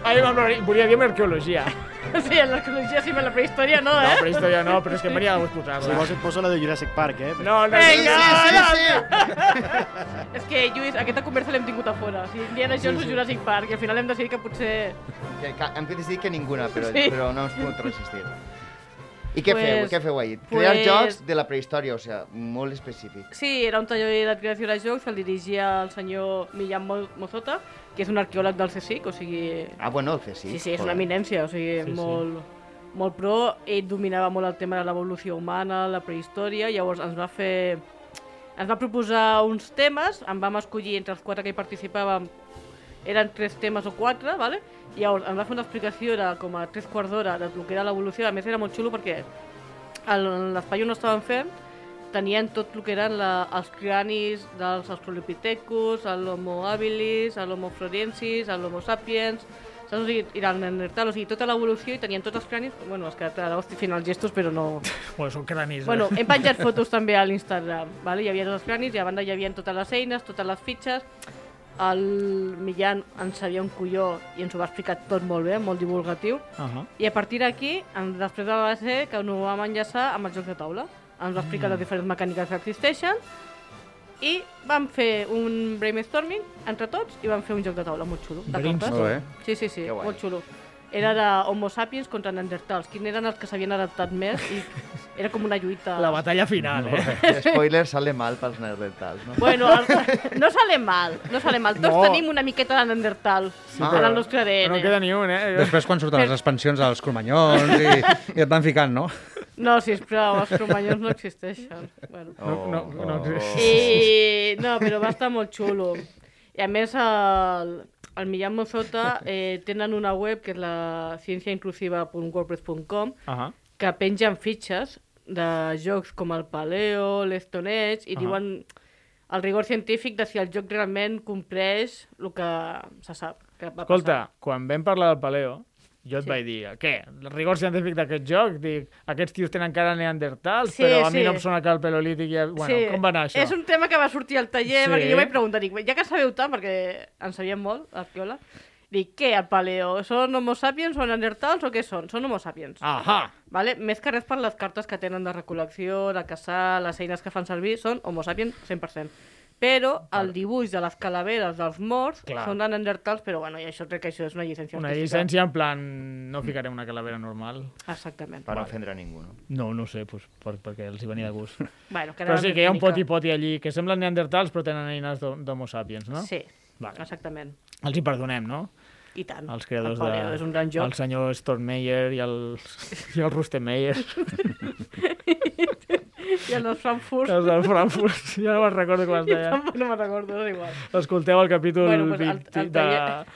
Speaker 2: Ai, amb la... volia dir amb
Speaker 4: (laughs)
Speaker 2: arqueologia.
Speaker 5: (laughs)
Speaker 4: Eh?
Speaker 5: Sí, en l'arqueologia sí, però en la prehistòria no,
Speaker 2: No,
Speaker 5: eh?
Speaker 2: prehistòria no, però és que m'hi ha de posar-la.
Speaker 6: Si vols et poso la de Jurassic Park, eh?
Speaker 2: No, no, no.
Speaker 5: Vinga,
Speaker 2: Ah,
Speaker 4: sí.
Speaker 5: És que, Lluís, aquesta conversa l'hem tingut a fora. O sigui, Indiana Jones o Jurassic Park, i al final hem decidit que potser...
Speaker 4: Que, que, hem decidit que ninguna, però,
Speaker 5: Sí.
Speaker 4: sí. però no us puc resistir. I què
Speaker 5: Pues-
Speaker 4: pues, feu? Què feu ahir? Crear
Speaker 5: pues-
Speaker 4: jocs de la prehistòria, o sigui, molt específic.
Speaker 5: Sí, era un taller de creació de jocs, el dirigia el senyor Millán Mo- Mozota, que és un arqueòleg del CSIC, o sigui...
Speaker 4: Ah, bueno, el CSI.
Speaker 5: Sí, sí, és una eminència, o sigui,
Speaker 2: Sí, sí.
Speaker 5: sí, molt, molt pro. Ell dominava molt el tema de l'evolució humana, la prehistòria, llavors ens va fer... Ens va proposar uns temes, en vam escollir entre els quatre que hi participàvem, eren tres temes o quatre, ¿vale? i llavors ens va fer una explicació de com a tres quarts d'hora de lo que era l'evolució, a més era molt xulo perquè el- l'espai on ho estaven fent tenien tot el que eren la, els cranis dels australopithecus, l'homo habilis, l'homo floriensis, l'homo sapiens, saps? O sigui, i el neandertal, o sigui, tota l'evolució i tenien tots els cranis, bueno, és que ara estic fent els gestos però no...
Speaker 2: Bueno, són cranis.
Speaker 5: Bueno,
Speaker 2: eh? (laughs)
Speaker 5: hem penjat fotos també a l'Instagram, vale? hi havia tots els cranis i a banda hi havia totes les eines, totes les fitxes, el Millan en sabia un colló i ens ho va explicar tot molt bé, molt divulgatiu,
Speaker 2: Uh -huh.
Speaker 5: i a partir d'aquí, en- després de va
Speaker 2: Mm.
Speaker 5: ser que ho vam enllaçar amb els jocs de taula. Ens va explicar les diferents mecàniques que existeixen i vam fer un brainstorming entre tots i vam fer un joc de taula molt xulo. De
Speaker 2: Brainstorm.
Speaker 5: cartes.
Speaker 3: Molt bé.
Speaker 5: Sí, sí, sí,
Speaker 4: Que guai.
Speaker 5: molt xulo. Era de homo sapiens contra neandertals. Quins eren els que s'havien adaptat més i era com una lluita.
Speaker 2: La batalla final, eh?
Speaker 4: Spoiler, sale mal pels neandertals, no?
Speaker 5: Bueno, el... no sale mal, no sale mal. Tots
Speaker 2: No.
Speaker 5: tenim una miqueta de neandertal sí,
Speaker 4: Ah.
Speaker 5: en el nostre ADN.
Speaker 2: No queda ni un, eh?
Speaker 3: Després, quan surten les expansions dels cromanyons i, i et van ficant, no?
Speaker 5: No, sisplau, els cromanyons no existeixen. Bueno.
Speaker 2: No, no, no existeix.
Speaker 5: I... No, però va estar molt xulo. I a més, el, el Millán Mozota eh, tenen una web que és la cienciainclusiva.wordpress.com
Speaker 2: Ahà.
Speaker 5: que pengen fitxes de jocs com el Paleo, l'Stone Age, i
Speaker 2: Ahà.
Speaker 5: diuen el rigor científic de si el joc realment compleix el que se sap que va
Speaker 2: Escolta,
Speaker 5: passar.
Speaker 2: quan vam parlar del paleo, jo et
Speaker 5: Sí.
Speaker 2: sí. vaig dir, què? El rigor científic d'aquest joc? Dic, aquests tios tenen cara neandertals, sí,
Speaker 5: Sí,
Speaker 2: però a
Speaker 5: sí.
Speaker 2: mi no em sona que el paleolític... Ja... Bueno,
Speaker 5: Sí,
Speaker 2: com va anar això?
Speaker 5: És un tema que va sortir al
Speaker 2: Sí.
Speaker 5: taller, sí. perquè jo vaig preguntar, dic, ja que sabeu tant, perquè en sabíem molt, l'arqueòleg, dic, què, el paleo? Són homo sapiens o neandertals o què són? Són homo sapiens.
Speaker 2: Ahà!
Speaker 5: Vale? Més que res per les cartes que tenen de recol·lecció, de caçar, les eines que fan servir, són homo sapiens 100%. Però el dibuix de les calaveres dels morts
Speaker 2: Clar.
Speaker 5: són de neandertals, però bueno, i això crec que això és una llicència
Speaker 2: Una
Speaker 5: artística.
Speaker 2: llicència en plan... No ficaré una calavera normal.
Speaker 5: Exactament.
Speaker 4: Per no ofendre a ningú, no?
Speaker 2: No, no ho sé, pues, per, perquè els hi venia de gust.
Speaker 5: Bueno, que
Speaker 2: però
Speaker 5: ara
Speaker 2: sí que hi ha un
Speaker 5: mica.
Speaker 2: poti-poti allí, que semblen neandertals però tenen eines d'ho- d'homo sapiens, no?
Speaker 5: Sí,
Speaker 2: Vale.
Speaker 5: exactament.
Speaker 2: Els hi perdonem, no?
Speaker 5: I tant.
Speaker 2: Els creadors
Speaker 5: el
Speaker 2: de...
Speaker 5: Paleo És un gran joc.
Speaker 2: El senyor Stormeyer i el, i el Rustemeyer,
Speaker 5: I el de Frankfurt.
Speaker 2: els
Speaker 5: (laughs)
Speaker 2: del Frankfurt, (laughs) ja no me'n recordo com es
Speaker 5: Jo
Speaker 2: deia.
Speaker 5: tampoc no me'n recordo, és igual.
Speaker 2: Escolteu el capítol
Speaker 5: Bueno,
Speaker 2: bueno,
Speaker 5: pues
Speaker 2: pues, 20
Speaker 5: el- el
Speaker 2: de,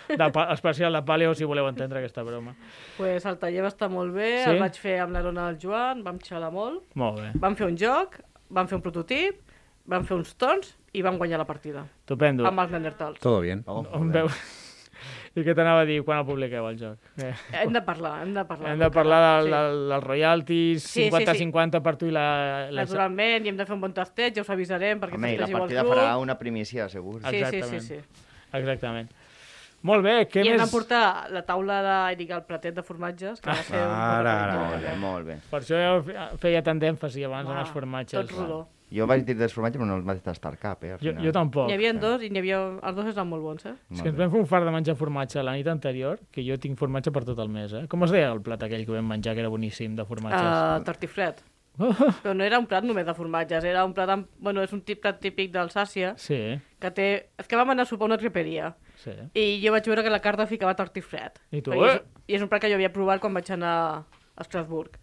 Speaker 5: taller-
Speaker 2: de, pa- especial de Paleo, si voleu entendre aquesta broma.
Speaker 5: Pues el taller va estar molt bé,
Speaker 2: Sí?
Speaker 5: el vaig fer amb l'Arona del Joan, vam xalar molt,
Speaker 2: Molt bé,
Speaker 5: vam fer un joc, vam fer un prototip, vam fer uns tons i vam guanyar la partida
Speaker 2: estupendo.
Speaker 5: amb els Neandertals.
Speaker 3: Todo bien.
Speaker 4: Oh,
Speaker 2: On veu... (laughs) I què t'anava a dir? Quan el publiqueu, el joc? Eh,
Speaker 5: Hem de parlar, hem de parlar.
Speaker 2: hem de parlar del,
Speaker 5: Sí.
Speaker 2: del, dels royalties,
Speaker 5: Sí, sí, sí.
Speaker 2: 50-50 per tu i la... la...
Speaker 5: Naturalment, i hem de fer un bon tastet, ja us avisarem perquè
Speaker 4: Home, i la
Speaker 5: tastegeu el
Speaker 4: partida
Speaker 5: club.
Speaker 4: farà una primícia, segur.
Speaker 5: Sí, sí, sí,
Speaker 2: Exactament.
Speaker 5: sí.
Speaker 2: Exactament. Molt bé, què
Speaker 5: I hem
Speaker 2: més?
Speaker 5: de portar la taula de, dic, el platet de formatges, que va ser... un-
Speaker 4: Ah,
Speaker 3: Ara, ara,
Speaker 4: Molt bé, molt bé.
Speaker 2: Per això ja fe- feia tant d'èmfasi abans en
Speaker 5: Ah,
Speaker 2: els formatges.
Speaker 5: Tot rodó.
Speaker 4: Jo vaig dir dels formatges, però no els vaig tastar cap, eh? Al
Speaker 2: Jo,
Speaker 4: final.
Speaker 2: jo tampoc.
Speaker 5: N'hi havia dos i n'hi havia... Els dos eren molt bons, eh?
Speaker 2: És que ens vam fer un fart de menjar formatge la nit anterior, que jo tinc formatge per tot el mes, eh? Com es deia el plat aquell que vam menjar, que era boníssim, de formatges? Oh,
Speaker 5: Uh, tartiflet. Però no era un plat només de formatges, era un plat amb... Bueno, és un tip plat típic d'Alsàcia,
Speaker 2: Sí,
Speaker 5: que té... És que vam anar a sopar a una triperia.
Speaker 2: sí.
Speaker 5: I jo vaig veure que la carta ficava tartiflet.
Speaker 2: I tu,
Speaker 5: Perquè
Speaker 2: eh?
Speaker 5: és, I és un plat que jo havia provat quan vaig anar a Estrasburg.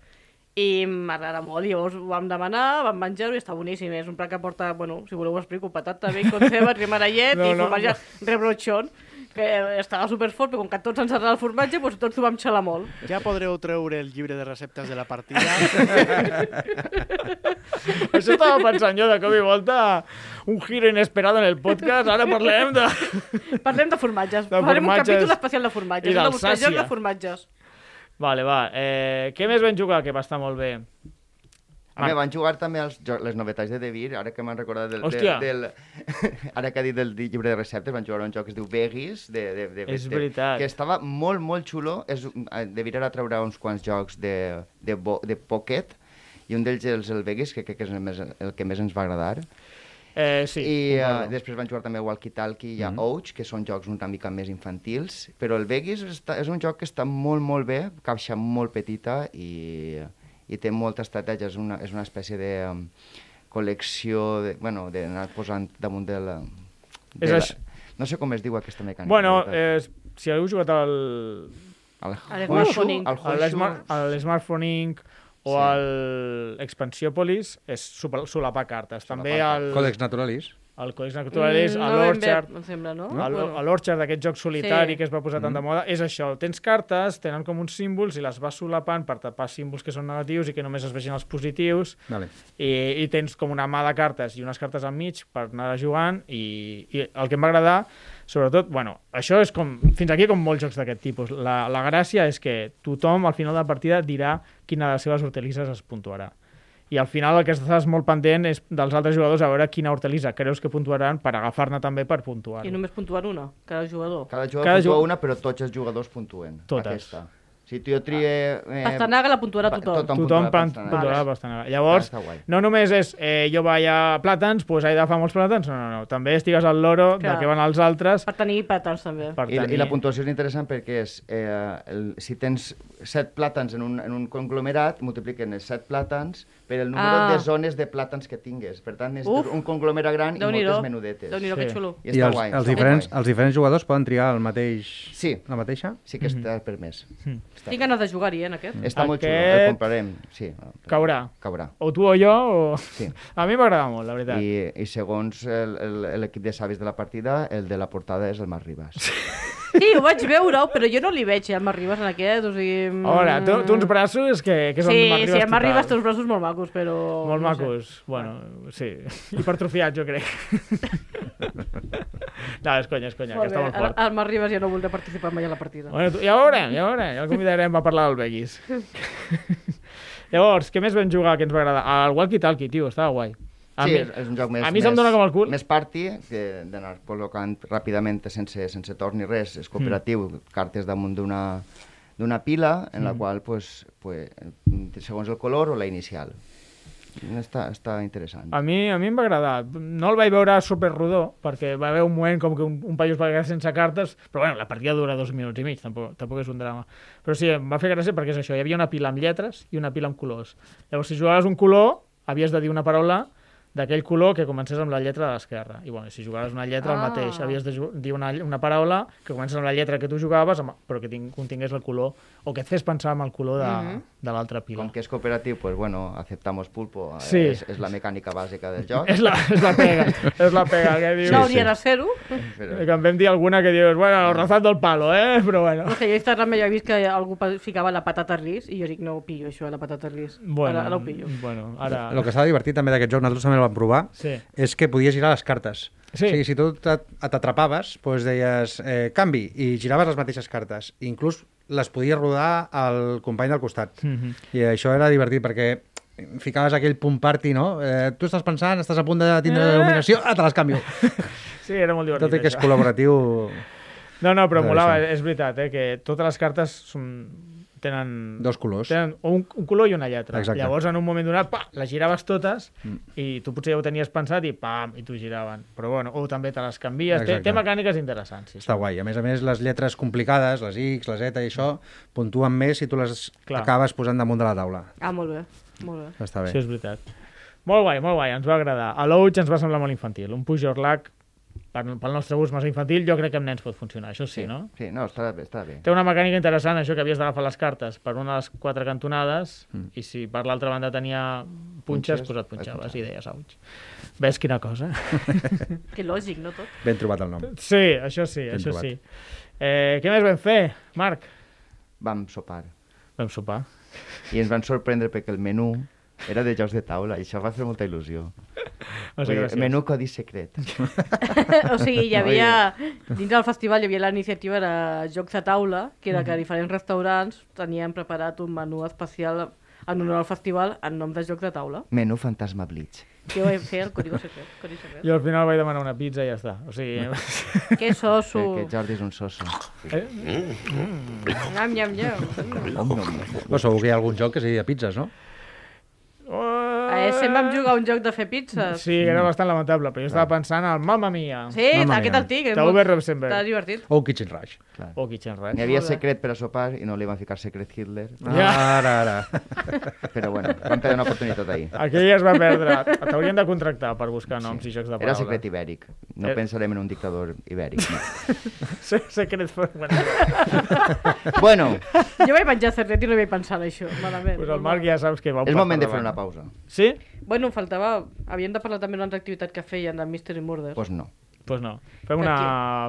Speaker 5: I m'agrada molt, llavors ho vam demanar, vam menjar-ho i està boníssim. És un plat que porta, bueno, si voleu ho explico, patata, bacon,
Speaker 2: (laughs)
Speaker 5: cebes, rimarallet
Speaker 2: No,
Speaker 5: no, i
Speaker 2: no.
Speaker 5: formatge rebrochon, que estava superfort, però com que tots ens agrada el formatge, doncs tots ho vam xalar molt.
Speaker 6: Ja podreu treure el llibre de receptes de la partida.
Speaker 2: Això estava pensant jo, de cop i volta, un giro inesperado en el podcast, ara parlem de...
Speaker 5: Parlem de formatges.
Speaker 2: De
Speaker 5: Farem un
Speaker 2: formatges.
Speaker 5: capítol especial de
Speaker 2: I
Speaker 5: formatges. Hem de buscar
Speaker 2: d'Alsàcia.
Speaker 5: jocs de formatges.
Speaker 2: Vale, va, eh, què més vam jugar, que va estar molt bé? Ah.
Speaker 4: Home, van jugar també als jo- les novetats de De Vir, ara que m'han recordat del, del,
Speaker 2: Hòstia.
Speaker 4: del... (laughs) ara que ha dit del di- llibre de receptes, van jugar a un joc que es diu Veggies, de, de, de,
Speaker 2: És
Speaker 4: de-
Speaker 2: veritat.
Speaker 4: que estava molt, molt xulo. És, un- eh, de Vir ara traurà uns quants jocs de, de, bo, de pocket, i un d'ells és el Veggies, que crec que és el, més, el que més ens va agradar.
Speaker 2: Eh, sí, Mm-hmm.
Speaker 4: I uh,
Speaker 2: concordo.
Speaker 4: després van jugar també al Walkie Talkie i a mm -hmm. Ouch, que són jocs una mica més infantils, però el Veggies està, és un joc que està molt, molt bé, caixa molt petita i, i té molta estratègia, és una, és una espècie de um, col·lecció, de, bueno, d'anar posant damunt de la... De
Speaker 2: És
Speaker 4: la
Speaker 2: això.
Speaker 4: no sé com es diu aquesta mecànica.
Speaker 2: Bueno,
Speaker 4: la veritat.
Speaker 2: eh, si heu jugat al
Speaker 4: El Horseshoe-
Speaker 5: el
Speaker 4: el
Speaker 5: smartphoning.
Speaker 2: a l'Smar-
Speaker 4: Horseshoe-
Speaker 2: a l'Smartphoning o
Speaker 4: Sí.
Speaker 2: al Expansiópolis és super, solapar cartes. També
Speaker 4: Solapar
Speaker 2: al,
Speaker 3: Còdex Naturalis.
Speaker 2: al Codex Naturales,
Speaker 5: Mm,
Speaker 2: a
Speaker 5: no ben bé,
Speaker 2: l'Orchard...
Speaker 5: Em sembla, no?
Speaker 2: A l'O- a l'Orchard, d'aquest joc solitari
Speaker 5: Sí.
Speaker 2: que es va posar tant de moda, és això. Tens cartes, tenen com uns símbols i les vas solapant per tapar símbols que són negatius i que només es vegin els positius
Speaker 3: Vale.
Speaker 2: i, i tens com una mà de cartes i unes cartes enmig per anar jugant i, i el que em va agradar, sobretot, bueno, això és com, fins aquí com molts jocs d'aquest tipus. La, la gràcia és que tothom al final de la partida dirà quina de les seves hortalisses es puntuarà. I al final el que estàs molt pendent és dels altres jugadors a veure quina hortalissa creus que puntuaran per agafar-ne també per puntuar.
Speaker 5: I només puntuar una, cada jugador.
Speaker 4: Cada jugador
Speaker 2: Cada
Speaker 4: puntua
Speaker 2: ju-
Speaker 4: una, però tots els jugadors puntuen.
Speaker 2: Totes. Ah.
Speaker 4: Aquesta. Si tu jo trie... Eh,
Speaker 5: Pastanaga la puntuarà tothom.
Speaker 2: Tothom pan-
Speaker 4: Pastanaga.
Speaker 2: puntuarà Pastanaga. Llavors,
Speaker 4: Està guai.
Speaker 2: no només és eh, jo vaig a plàtans, doncs pues he de fa molts plàtans, no, no, no. També estigues al loro de
Speaker 5: Clar.
Speaker 2: què van els altres.
Speaker 5: Per tenir pàtals, també.
Speaker 2: Per eh,
Speaker 4: I,
Speaker 2: tenir...
Speaker 4: I la puntuació és interessant perquè és, eh, el, si tens set plàtans en un, en un conglomerat, multipliquen els set plàtans per el número
Speaker 5: Ah.
Speaker 4: de zones de plàtans que tingues. Per tant, és
Speaker 5: Uf.
Speaker 4: un conglomerat gran i
Speaker 5: Déu-n'hi-do.
Speaker 4: moltes menudetes.
Speaker 5: Déu-n'hi-do,
Speaker 2: Sí.
Speaker 5: que xulo.
Speaker 4: I,
Speaker 3: I
Speaker 4: està
Speaker 3: els,
Speaker 4: guai.
Speaker 3: els,
Speaker 4: està
Speaker 3: diferents,
Speaker 4: Guai.
Speaker 3: els diferents jugadors poden triar el mateix...
Speaker 4: Sí.
Speaker 3: La mateixa?
Speaker 4: Sí que
Speaker 2: Mhm.
Speaker 4: està permès. Està,
Speaker 5: Tinc ganes de jugar-hi, eh, en aquest.
Speaker 4: està molt xulo,
Speaker 2: Aquest-
Speaker 4: el comprarem. Sí,
Speaker 2: Caurà.
Speaker 4: Caurà.
Speaker 2: O tu o jo, o...
Speaker 4: Sí.
Speaker 2: (laughs) A mi m'agrada molt, la veritat. I...
Speaker 4: I, i segons el- el- l'equip de savis de la partida, el de la portada és el Marc Ribas.
Speaker 5: Sí, ho vaig veure, però jo no li veig, eh, el Marribas, en aquest, o sigui... mm,
Speaker 2: A veure, tu, tu uns braços que, que són
Speaker 5: Sí,
Speaker 2: m'arribes
Speaker 5: sí, el Marribas
Speaker 2: total.
Speaker 5: té uns braços molt macos, però...
Speaker 2: Molt
Speaker 5: no sé.
Speaker 2: macos. Bueno, sí. (laughs) Hipertrofiats,
Speaker 5: (laughs)
Speaker 2: jo crec. no, és conya, és conya,
Speaker 5: Molt
Speaker 2: que està
Speaker 5: bé,
Speaker 2: molt
Speaker 5: el,
Speaker 2: fort.
Speaker 5: el Marribas ja no voldrà participar mai a la partida.
Speaker 2: Bueno, tu, ja ho veurem, ja ho veurem. Ja el convidarem a parlar del Beguis. Llavors, què més vam jugar que ens va agradar? El walkie-talkie, tio, estava guai. A
Speaker 4: sí,
Speaker 2: mi,
Speaker 4: és, és un joc més...
Speaker 2: a mi se'm dóna com el cul.
Speaker 4: Més party, que d'anar col·locant ràpidament sense, sense torn ni res. És cooperatiu,
Speaker 2: Mm.
Speaker 4: cartes damunt d'una d'una pila en la qual, pues, pues, segons el color o la inicial. Està, està interessant.
Speaker 2: A mi, a mi em va agradar. No el vaig veure super rodó, perquè va haver un moment com que un, un paio es va quedar sense cartes, però bueno, la partida dura dos minuts i mig, tampoc, tampoc és un drama. Però sí, em va fer gràcia perquè és això, hi havia una pila amb lletres i una pila amb colors. Llavors, si jugaves un color, havies de dir una paraula d'aquell color que comencés amb la lletra de l'esquerra. I bueno, si jugaves una lletra, ah. el
Speaker 5: Ah.
Speaker 2: mateix. Havies de ju- dir una, una paraula que comença amb la lletra que tu jugaves, amb, però que ting, contingués el color, o que et fes pensar en el color de, mm -hmm. de l'altra pila.
Speaker 4: Com que és cooperatiu, pues, bueno, aceptamos pulpo. eh,
Speaker 2: Sí.
Speaker 4: És, és la mecànica
Speaker 2: (laughs)
Speaker 4: bàsica del joc.
Speaker 2: És la, és la pega, és la pega que dius.
Speaker 5: No hauria de ser-ho.
Speaker 4: Però...
Speaker 2: Que em vam dir alguna que dius, bueno, rozad del palo, eh? (laughs) Però bueno.
Speaker 5: No sé, jo a Instagram ja he vist que algú pa- ficava la patata ris i jo dic, no ho pillo, això, la patata ris.
Speaker 2: Bueno,
Speaker 5: Ara, ara ho pillo.
Speaker 2: Bueno, ara...
Speaker 3: El que estava divertit també d'aquest joc, nosaltres també el vam provar,
Speaker 2: Sí.
Speaker 3: és que podies girar les cartes.
Speaker 2: Sí.
Speaker 3: O sigui, si tu t'at- t'atrapaves, doncs deies eh, canvi, i giraves les mateixes cartes. I inclús les podies rodar al company del costat. Mm
Speaker 2: Mhm.
Speaker 3: -hmm. I això era divertit, perquè ficaves aquell punt party, no? Eh, tu estàs pensant, estàs a punt de tindre la dominació, ah, te
Speaker 2: (laughs)
Speaker 3: les canvio.
Speaker 2: Sí, era molt divertit.
Speaker 3: Tot i que és
Speaker 2: Eh. això.
Speaker 3: col·laboratiu...
Speaker 2: No, no, però
Speaker 3: Clar,
Speaker 2: molava,
Speaker 3: sí.
Speaker 2: és veritat, eh? Que totes les cartes són... tenen...
Speaker 3: Dos colors.
Speaker 2: Tenen un, un color i una lletra.
Speaker 3: Exacte.
Speaker 2: Llavors, en un moment donat, pa, les giraves totes mm. i tu potser ja ho tenies pensat i pam, i t'ho giraven. Però bueno, o també te les canvies. Té,
Speaker 3: Exacte.
Speaker 2: té mecàniques interessants, sí. sí.
Speaker 3: Està guai. A més a més, les lletres complicades, les X, la Z i això, puntuen més si tu les
Speaker 2: Clar.
Speaker 3: Clar. acabes posant damunt de la taula.
Speaker 5: Ah, molt bé, molt bé.
Speaker 3: Està bé.
Speaker 2: Això és veritat. Molt guai, molt guai, ens va agradar. A l'Ouch ens va semblar molt infantil. Un Puig Orlac, pel, pel nostre gust massa infantil, jo crec que amb nens pot funcionar, això sí, no?
Speaker 4: Sí, no, està bé, està bé.
Speaker 2: Té una mecànica interessant, això que havies d'agafar les cartes per una de les quatre cantonades mm. i si per l'altra banda tenia punxes,
Speaker 4: Punxes,
Speaker 2: doncs et punxaves i deies Ouch. Ves quina (laughs) cosa.
Speaker 5: Que lògic, no tot? (laughs)
Speaker 3: Ben trobat el nom.
Speaker 2: sí, això sí,
Speaker 3: Ben
Speaker 2: això
Speaker 3: trobat.
Speaker 2: sí. Eh, què més vam fer, Marc?
Speaker 4: Vam sopar.
Speaker 2: Vam sopar.
Speaker 4: I ens van sorprendre perquè el menú era de jocs de taula i això va fer molta il·lusió.
Speaker 2: O
Speaker 4: Vull
Speaker 2: sigui,
Speaker 4: dir,
Speaker 2: gràcies.
Speaker 4: menú codi
Speaker 2: (laughs)
Speaker 4: secret.
Speaker 5: o sigui, hi havia, dins del festival hi havia la iniciativa de Jocs a Taula, que era que diferents restaurants tenien preparat un menú especial en honor al festival en nom de Jocs de Taula.
Speaker 4: Menú fantasma eh, blitz.
Speaker 5: Que ho vam fer al Código Secret. Código Secret.
Speaker 2: Jo al final vaig demanar una pizza i ja està. O sigui,
Speaker 5: Que soso.
Speaker 4: Que Jordi és un soso.
Speaker 5: Nyam, nyam, nyam. Mm.
Speaker 3: Però segur que hi ha algun joc que sigui de pizzas, no?
Speaker 5: A SM vam jugar a un joc de fer pizzas.
Speaker 2: (laughs)
Speaker 5: Sí,
Speaker 2: Sí, era bastant lamentable, però jo estava pensant al Mamma Mia.
Speaker 5: sí
Speaker 3: Mamma
Speaker 5: aquest
Speaker 3: mia.
Speaker 5: el tinc. és
Speaker 2: T'ho
Speaker 5: molt-
Speaker 2: veus, Rosenberg.
Speaker 5: Està divertit.
Speaker 3: O un Kitchen Rush.
Speaker 4: Clar.
Speaker 2: O Kitchen Rush.
Speaker 4: N'hi havia
Speaker 5: Molt bé.
Speaker 4: secret per a sopar i no li van ficar secret Hitler,
Speaker 5: Ah.
Speaker 2: Ja.
Speaker 3: Ara, ara.
Speaker 4: però bueno, van perdre una oportunitat ahir.
Speaker 2: Aquell es va perdre. T'haurien de contractar per buscar noms sí. i jocs de paraula.
Speaker 4: Era secret ibèric. No
Speaker 6: Eh.
Speaker 2: Era-
Speaker 4: pensarem en un dictador ibèric. No.
Speaker 2: Se secret for... bueno,
Speaker 4: Bueno,
Speaker 5: Jo vaig menjar cerdet i no hi vaig pensar en això. Malament.
Speaker 2: pues el Marc ja saps que va un
Speaker 4: és
Speaker 2: pas
Speaker 4: moment de fer
Speaker 2: endavant.
Speaker 4: una pausa.
Speaker 2: Sí?
Speaker 5: Bueno, faltava... Havíem de parlar també d'una altra activitat que feien de Mystery Murder.
Speaker 4: Doncs pues no.
Speaker 2: Doncs pues no. Fem una...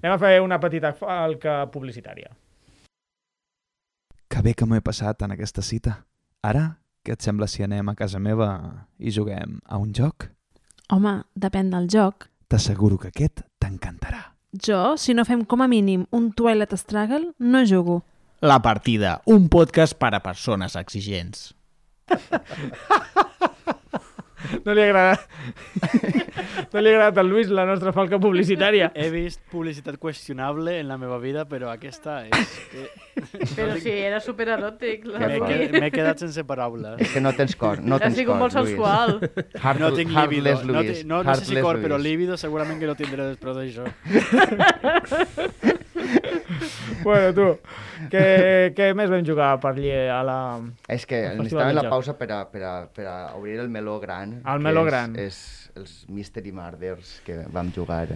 Speaker 2: Anem a fer una petita falca publicitària.
Speaker 7: Que bé que m'ho he passat en aquesta cita. Ara, què et sembla si anem a casa meva i juguem a un joc?
Speaker 8: Home, depèn del joc.
Speaker 7: T'asseguro que aquest t'encantarà.
Speaker 8: Jo, si no fem com a mínim un Twilight Struggle, no jugo.
Speaker 9: (laughs) La Partida, un podcast per a persones exigents.
Speaker 2: No li ha
Speaker 4: (laughs)
Speaker 2: agradat... no li ha agradat al Lluís la nostra
Speaker 4: (laughs)
Speaker 2: falca publicitària.
Speaker 4: (laughs)
Speaker 6: He vist publicitat qüestionable en la meva vida, però aquesta és... Que...
Speaker 5: Però sí, era supereròtic. la
Speaker 6: M'he
Speaker 5: Luli.
Speaker 6: quedat, m'he quedat sense paraules.
Speaker 4: És que no tens cor, no
Speaker 5: Ha
Speaker 4: tens
Speaker 5: sigut
Speaker 4: cor,
Speaker 5: molt
Speaker 4: Lluís.
Speaker 5: sensual.
Speaker 4: (laughs) Heart,
Speaker 6: No tinc líbido.
Speaker 4: heartless,
Speaker 6: No,
Speaker 4: Lluís.
Speaker 6: ti- no, no sé si
Speaker 4: Heartless,
Speaker 6: cor, però
Speaker 4: Lluís.
Speaker 6: líbido segurament que no tindré després d'això.
Speaker 2: Bueno, tu, què, què més vam jugar per allí a la...
Speaker 4: És que
Speaker 2: Festival
Speaker 4: necessitàvem
Speaker 2: del
Speaker 4: la
Speaker 2: joc.
Speaker 4: pausa per a, per, a, per a obrir el meló gran.
Speaker 2: El
Speaker 4: que
Speaker 2: meló
Speaker 4: és,
Speaker 2: gran.
Speaker 4: És els Mystery Murders que vam jugar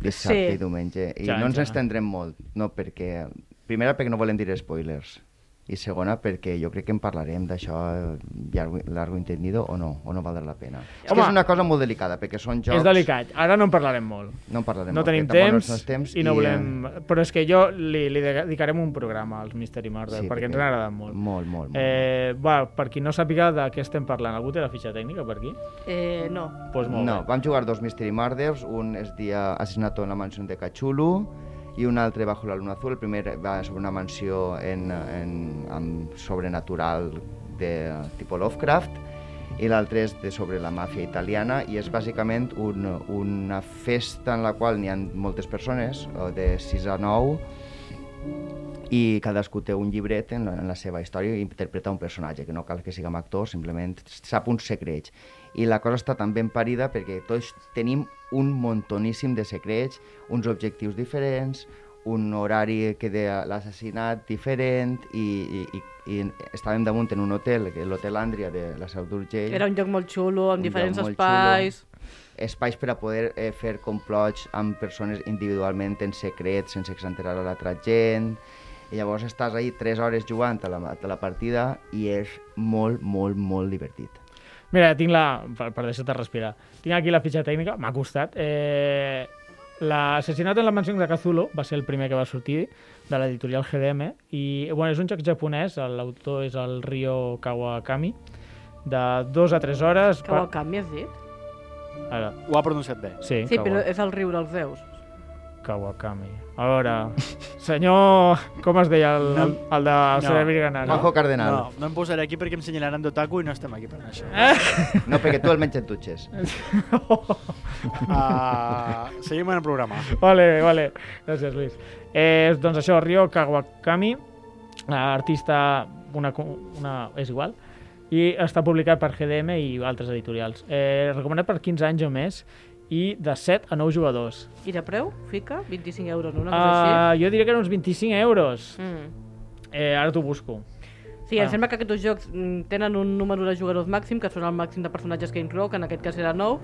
Speaker 4: dissabte
Speaker 5: Sí.
Speaker 4: i diumenge. I
Speaker 2: Ja,
Speaker 4: ja, no ens
Speaker 2: ja.
Speaker 4: estendrem molt, no, perquè... Primera, perquè no volem dir spoilers. I segona, perquè jo crec que en parlarem d'això llargo, largo entendido o no, o no valdrà la pena. Home, és que
Speaker 2: Home.
Speaker 4: és una cosa molt delicada, perquè són jocs...
Speaker 2: És delicat. Ara no en parlarem molt.
Speaker 4: No en parlarem.
Speaker 2: No
Speaker 4: molt,
Speaker 2: tenim
Speaker 4: perquè tampoc no
Speaker 2: temps,
Speaker 4: els
Speaker 2: i no volem... Però és que jo li, li dedicarem un programa als Mystery Murder, sí, perquè ens han agradat molt.
Speaker 4: Molt, molt, molt.
Speaker 2: Eh, va, per qui no sàpiga de què estem parlant, algú té la fitxa tècnica per aquí? Doncs
Speaker 5: Eh, no.
Speaker 2: pues molt
Speaker 4: No,
Speaker 2: bé.
Speaker 4: vam jugar dos Mystery Murders, un es dia Asesinato en la mansión de Cachulu i un altre Bajo la luna azul, el primer va sobre una mansió en, en, amb sobrenatural de tipus Lovecraft i l'altre és de sobre la màfia italiana i és bàsicament un, una festa en la qual n'hi ha moltes persones, eh, de 6 a 9, i cadascú té un llibret en la, en la seva història i interpreta un personatge, que no cal que siguem actors, simplement sap uns secrets. I la cosa està tan ben parida perquè tots tenim un montoníssim de secrets, uns objectius diferents, un horari que de l'assassinat diferent i, i, i, i estàvem damunt en un hotel, que l'hotel Àndria de la Seu d'Urgell
Speaker 5: Era un lloc molt xulo, amb
Speaker 4: un
Speaker 5: diferents
Speaker 4: lloc molt
Speaker 5: espais.
Speaker 4: Xulo, espais per a poder eh, fer complots amb persones individualment en secret, sense que s'enterara l'altra gent. I llavors estàs ahí 3 hores jugant a la, a la partida i és molt, molt, molt divertit.
Speaker 2: Mira, tinc la... Per, per deixar-te respirar. Tinc aquí la fitxa tècnica, m'ha costat. Eh, L'assassinat en la mansió de Cthulhu va ser el primer que va sortir de l'editorial GDM i bueno, és un joc japonès, l'autor és el Ryo Kawakami, de dos a tres hores...
Speaker 5: Que ho canvi, has dit?
Speaker 2: Ara,
Speaker 6: Ho ha pronunciat bé.
Speaker 2: sí,
Speaker 5: Sí,
Speaker 2: Kawa-
Speaker 5: però és el riu dels déus.
Speaker 2: Kawakami. A veure, senyor... Com es deia el,
Speaker 6: No.
Speaker 2: el, el de
Speaker 6: No.
Speaker 2: Cerebri Granada?
Speaker 4: Juanjo Cardenal.
Speaker 6: No, no em posaré aquí perquè em senyalaran d'otaku i no estem aquí per això.
Speaker 2: Eh?
Speaker 4: No, no perquè tu almenys
Speaker 2: (laughs)
Speaker 4: et dutxes.
Speaker 6: Uh, seguim en el programa.
Speaker 2: Vale, vale. Gràcies, Lluís. Eh, doncs això, Ryo Kawakami, eh, artista, una, co- una, és igual, i està publicat per GDM i altres editorials. Eh, recomanat per 15 anys o més i de 7 a 9 jugadors.
Speaker 5: I de preu? Fica 25 euros, no? Una cosa
Speaker 4: Ah.
Speaker 5: així.
Speaker 2: Uh, jo diria que eren uns 25 euros.
Speaker 5: Mm.
Speaker 2: Eh, ara t'ho busco.
Speaker 5: Sí, em
Speaker 2: Ah.
Speaker 5: sembla que aquests jocs mm, tenen un número de jugadors màxim, que són el màxim de personatges que inclou, que en aquest cas era 9,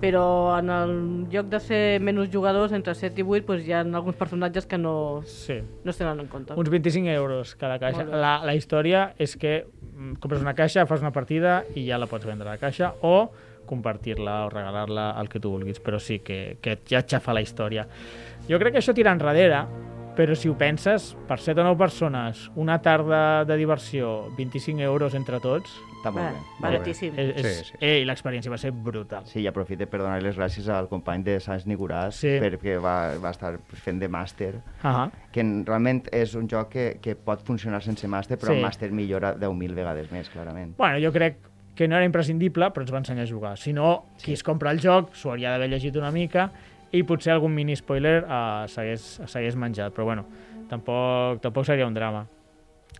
Speaker 5: però en el lloc de ser menys jugadors, entre 7 i 8, doncs hi ha alguns personatges que no,
Speaker 2: Sí.
Speaker 5: no es tenen en compte.
Speaker 2: Uns 25 euros cada caixa.
Speaker 5: Molt bé.
Speaker 2: La, la història és que mm, compres una caixa, fas una partida i ja la pots vendre la caixa o compartir-la o regalar-la al que tu vulguis, però sí que, que ja et xafa la història. Jo crec que això tira enrere, però si ho penses, per 7 o 9 persones, una tarda de diversió, 25 euros entre tots,
Speaker 4: Està molt
Speaker 5: Va,
Speaker 4: bé. molt bé.
Speaker 5: baratíssim.
Speaker 2: és, és,
Speaker 3: Sí,
Speaker 2: sí,
Speaker 3: sí.
Speaker 2: sí. Ei, l'experiència va ser brutal.
Speaker 4: Sí, i aprofite per donar les gràcies al company de Sants Niguràs
Speaker 2: Sí.
Speaker 4: perquè va, va estar fent de màster
Speaker 2: Ah
Speaker 4: que en- realment és un joc que, que pot funcionar sense màster, però
Speaker 2: Sí.
Speaker 4: sí. el màster millora 10.000 vegades més, clarament.
Speaker 2: Bueno, jo crec que no era imprescindible, però ens va ensenyar a jugar. Si no, qui es compra el joc s'ho hauria d'haver llegit una mica i potser algun mini-spoiler eh, s'hagués s'hagués menjat, però bueno, tampoc, tampoc seria un drama.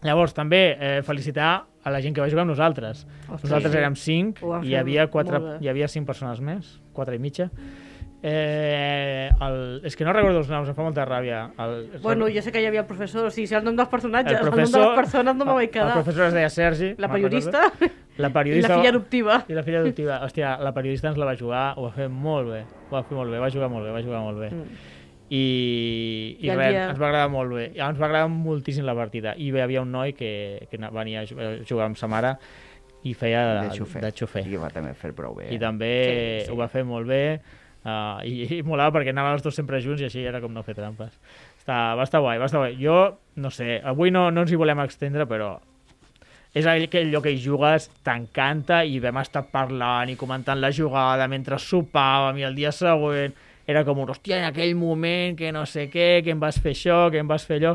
Speaker 2: Llavors, també eh, felicitar a la gent que va jugar amb nosaltres.
Speaker 5: Ostres,
Speaker 2: nosaltres
Speaker 5: sí.
Speaker 2: érem 5
Speaker 5: Ho van
Speaker 2: i hi
Speaker 5: fer
Speaker 2: havia,
Speaker 5: molt
Speaker 2: 4,
Speaker 5: bé.
Speaker 2: hi havia 5 persones més, 4 i mitja. Eh, el, és que no recordo els noms, em fa molta ràbia. El,
Speaker 5: Bueno, jo sé que hi havia el professor, o sigui, si el nom dels personatges,
Speaker 2: el,
Speaker 5: el, nom de
Speaker 2: professor,
Speaker 5: les persones no m'ho vaig
Speaker 2: El
Speaker 5: quedar.
Speaker 2: professor es deia Sergi.
Speaker 5: La
Speaker 2: me'n recordo.
Speaker 5: periodista
Speaker 2: La
Speaker 5: (laughs) i la
Speaker 2: periodista...
Speaker 5: filla adoptiva.
Speaker 2: I la filla adoptiva, hòstia, la periodista ens la va jugar, ho va fer molt bé, ho va fer molt bé, va jugar molt bé, va jugar molt bé.
Speaker 5: Mm.
Speaker 2: I, i,
Speaker 5: I el
Speaker 2: res,
Speaker 5: dia-
Speaker 2: ens va agradar molt bé, I ens va agradar moltíssim la partida. I hi havia un noi que, que na- venia a ju- a jugar amb sa mare i feia de, de xofer.
Speaker 4: I va també fer prou bé.
Speaker 2: I també sí, sí. ho va fer molt bé uh, i, i molava perquè anaven els dos sempre junts i així era com no fer trampes. Està, va estar guai, va estar guai. Jo, no sé, avui no, no ens hi volem extendre, però és aquell lloc que hi jugues, t'encanta i vam estar parlant i comentant la jugada mentre sopàvem i el dia següent era com un, hòstia, en aquell moment que no sé què, que em vas fer això, que em vas fer allò...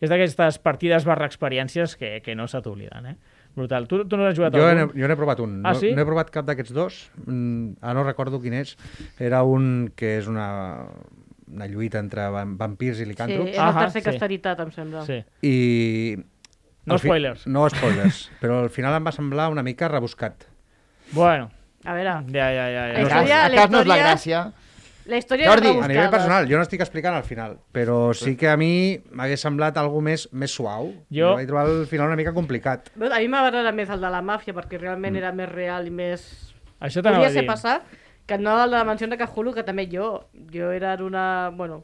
Speaker 2: És d'aquestes partides barra experiències que, que no se t'obliden, eh? Brutal. Tu, tu no has jugat
Speaker 3: Jo
Speaker 2: algun?
Speaker 3: n'he jo n'he provat un.
Speaker 2: Ah,
Speaker 3: no,
Speaker 2: sí?
Speaker 3: no he provat cap d'aquests dos. Mm, ara no recordo quin és. Era un que és una una lluita entre vam- vampirs i
Speaker 5: Sí,
Speaker 3: licàntrops.
Speaker 5: és
Speaker 3: Sí.
Speaker 5: el
Speaker 2: Ahà,
Speaker 5: tercer
Speaker 2: sí.
Speaker 5: que esteritat, em sembla.
Speaker 2: Sí.
Speaker 3: I...
Speaker 2: No
Speaker 3: al fi-
Speaker 2: spoilers.
Speaker 3: No
Speaker 2: (laughs)
Speaker 3: spoilers, però al final em va semblar una mica rebuscat.
Speaker 2: Bueno,
Speaker 5: A veure,
Speaker 2: ja, ja, ja. ja.
Speaker 5: La història-
Speaker 4: Cas-
Speaker 5: la
Speaker 4: cas no és la
Speaker 5: història-
Speaker 4: gràcia.
Speaker 5: la història
Speaker 4: Jordi,
Speaker 5: és
Speaker 4: a
Speaker 3: A
Speaker 5: rebuscada.
Speaker 3: nivell personal, jo no estic explicant al final, però sí que a mi m'hagués semblat algo més més suau.
Speaker 2: Jo-
Speaker 3: Jo vaig trobar al final una mica complicat.
Speaker 5: Bé, A mi m'agrada més el de la màfia, perquè
Speaker 2: Mm.
Speaker 5: realment era més real i més...
Speaker 2: Això t'anava
Speaker 5: Podria
Speaker 2: a
Speaker 5: ser
Speaker 2: dir.
Speaker 5: passat que no el de la mansió de Cthulhu, que també jo. Jo era una... Bueno,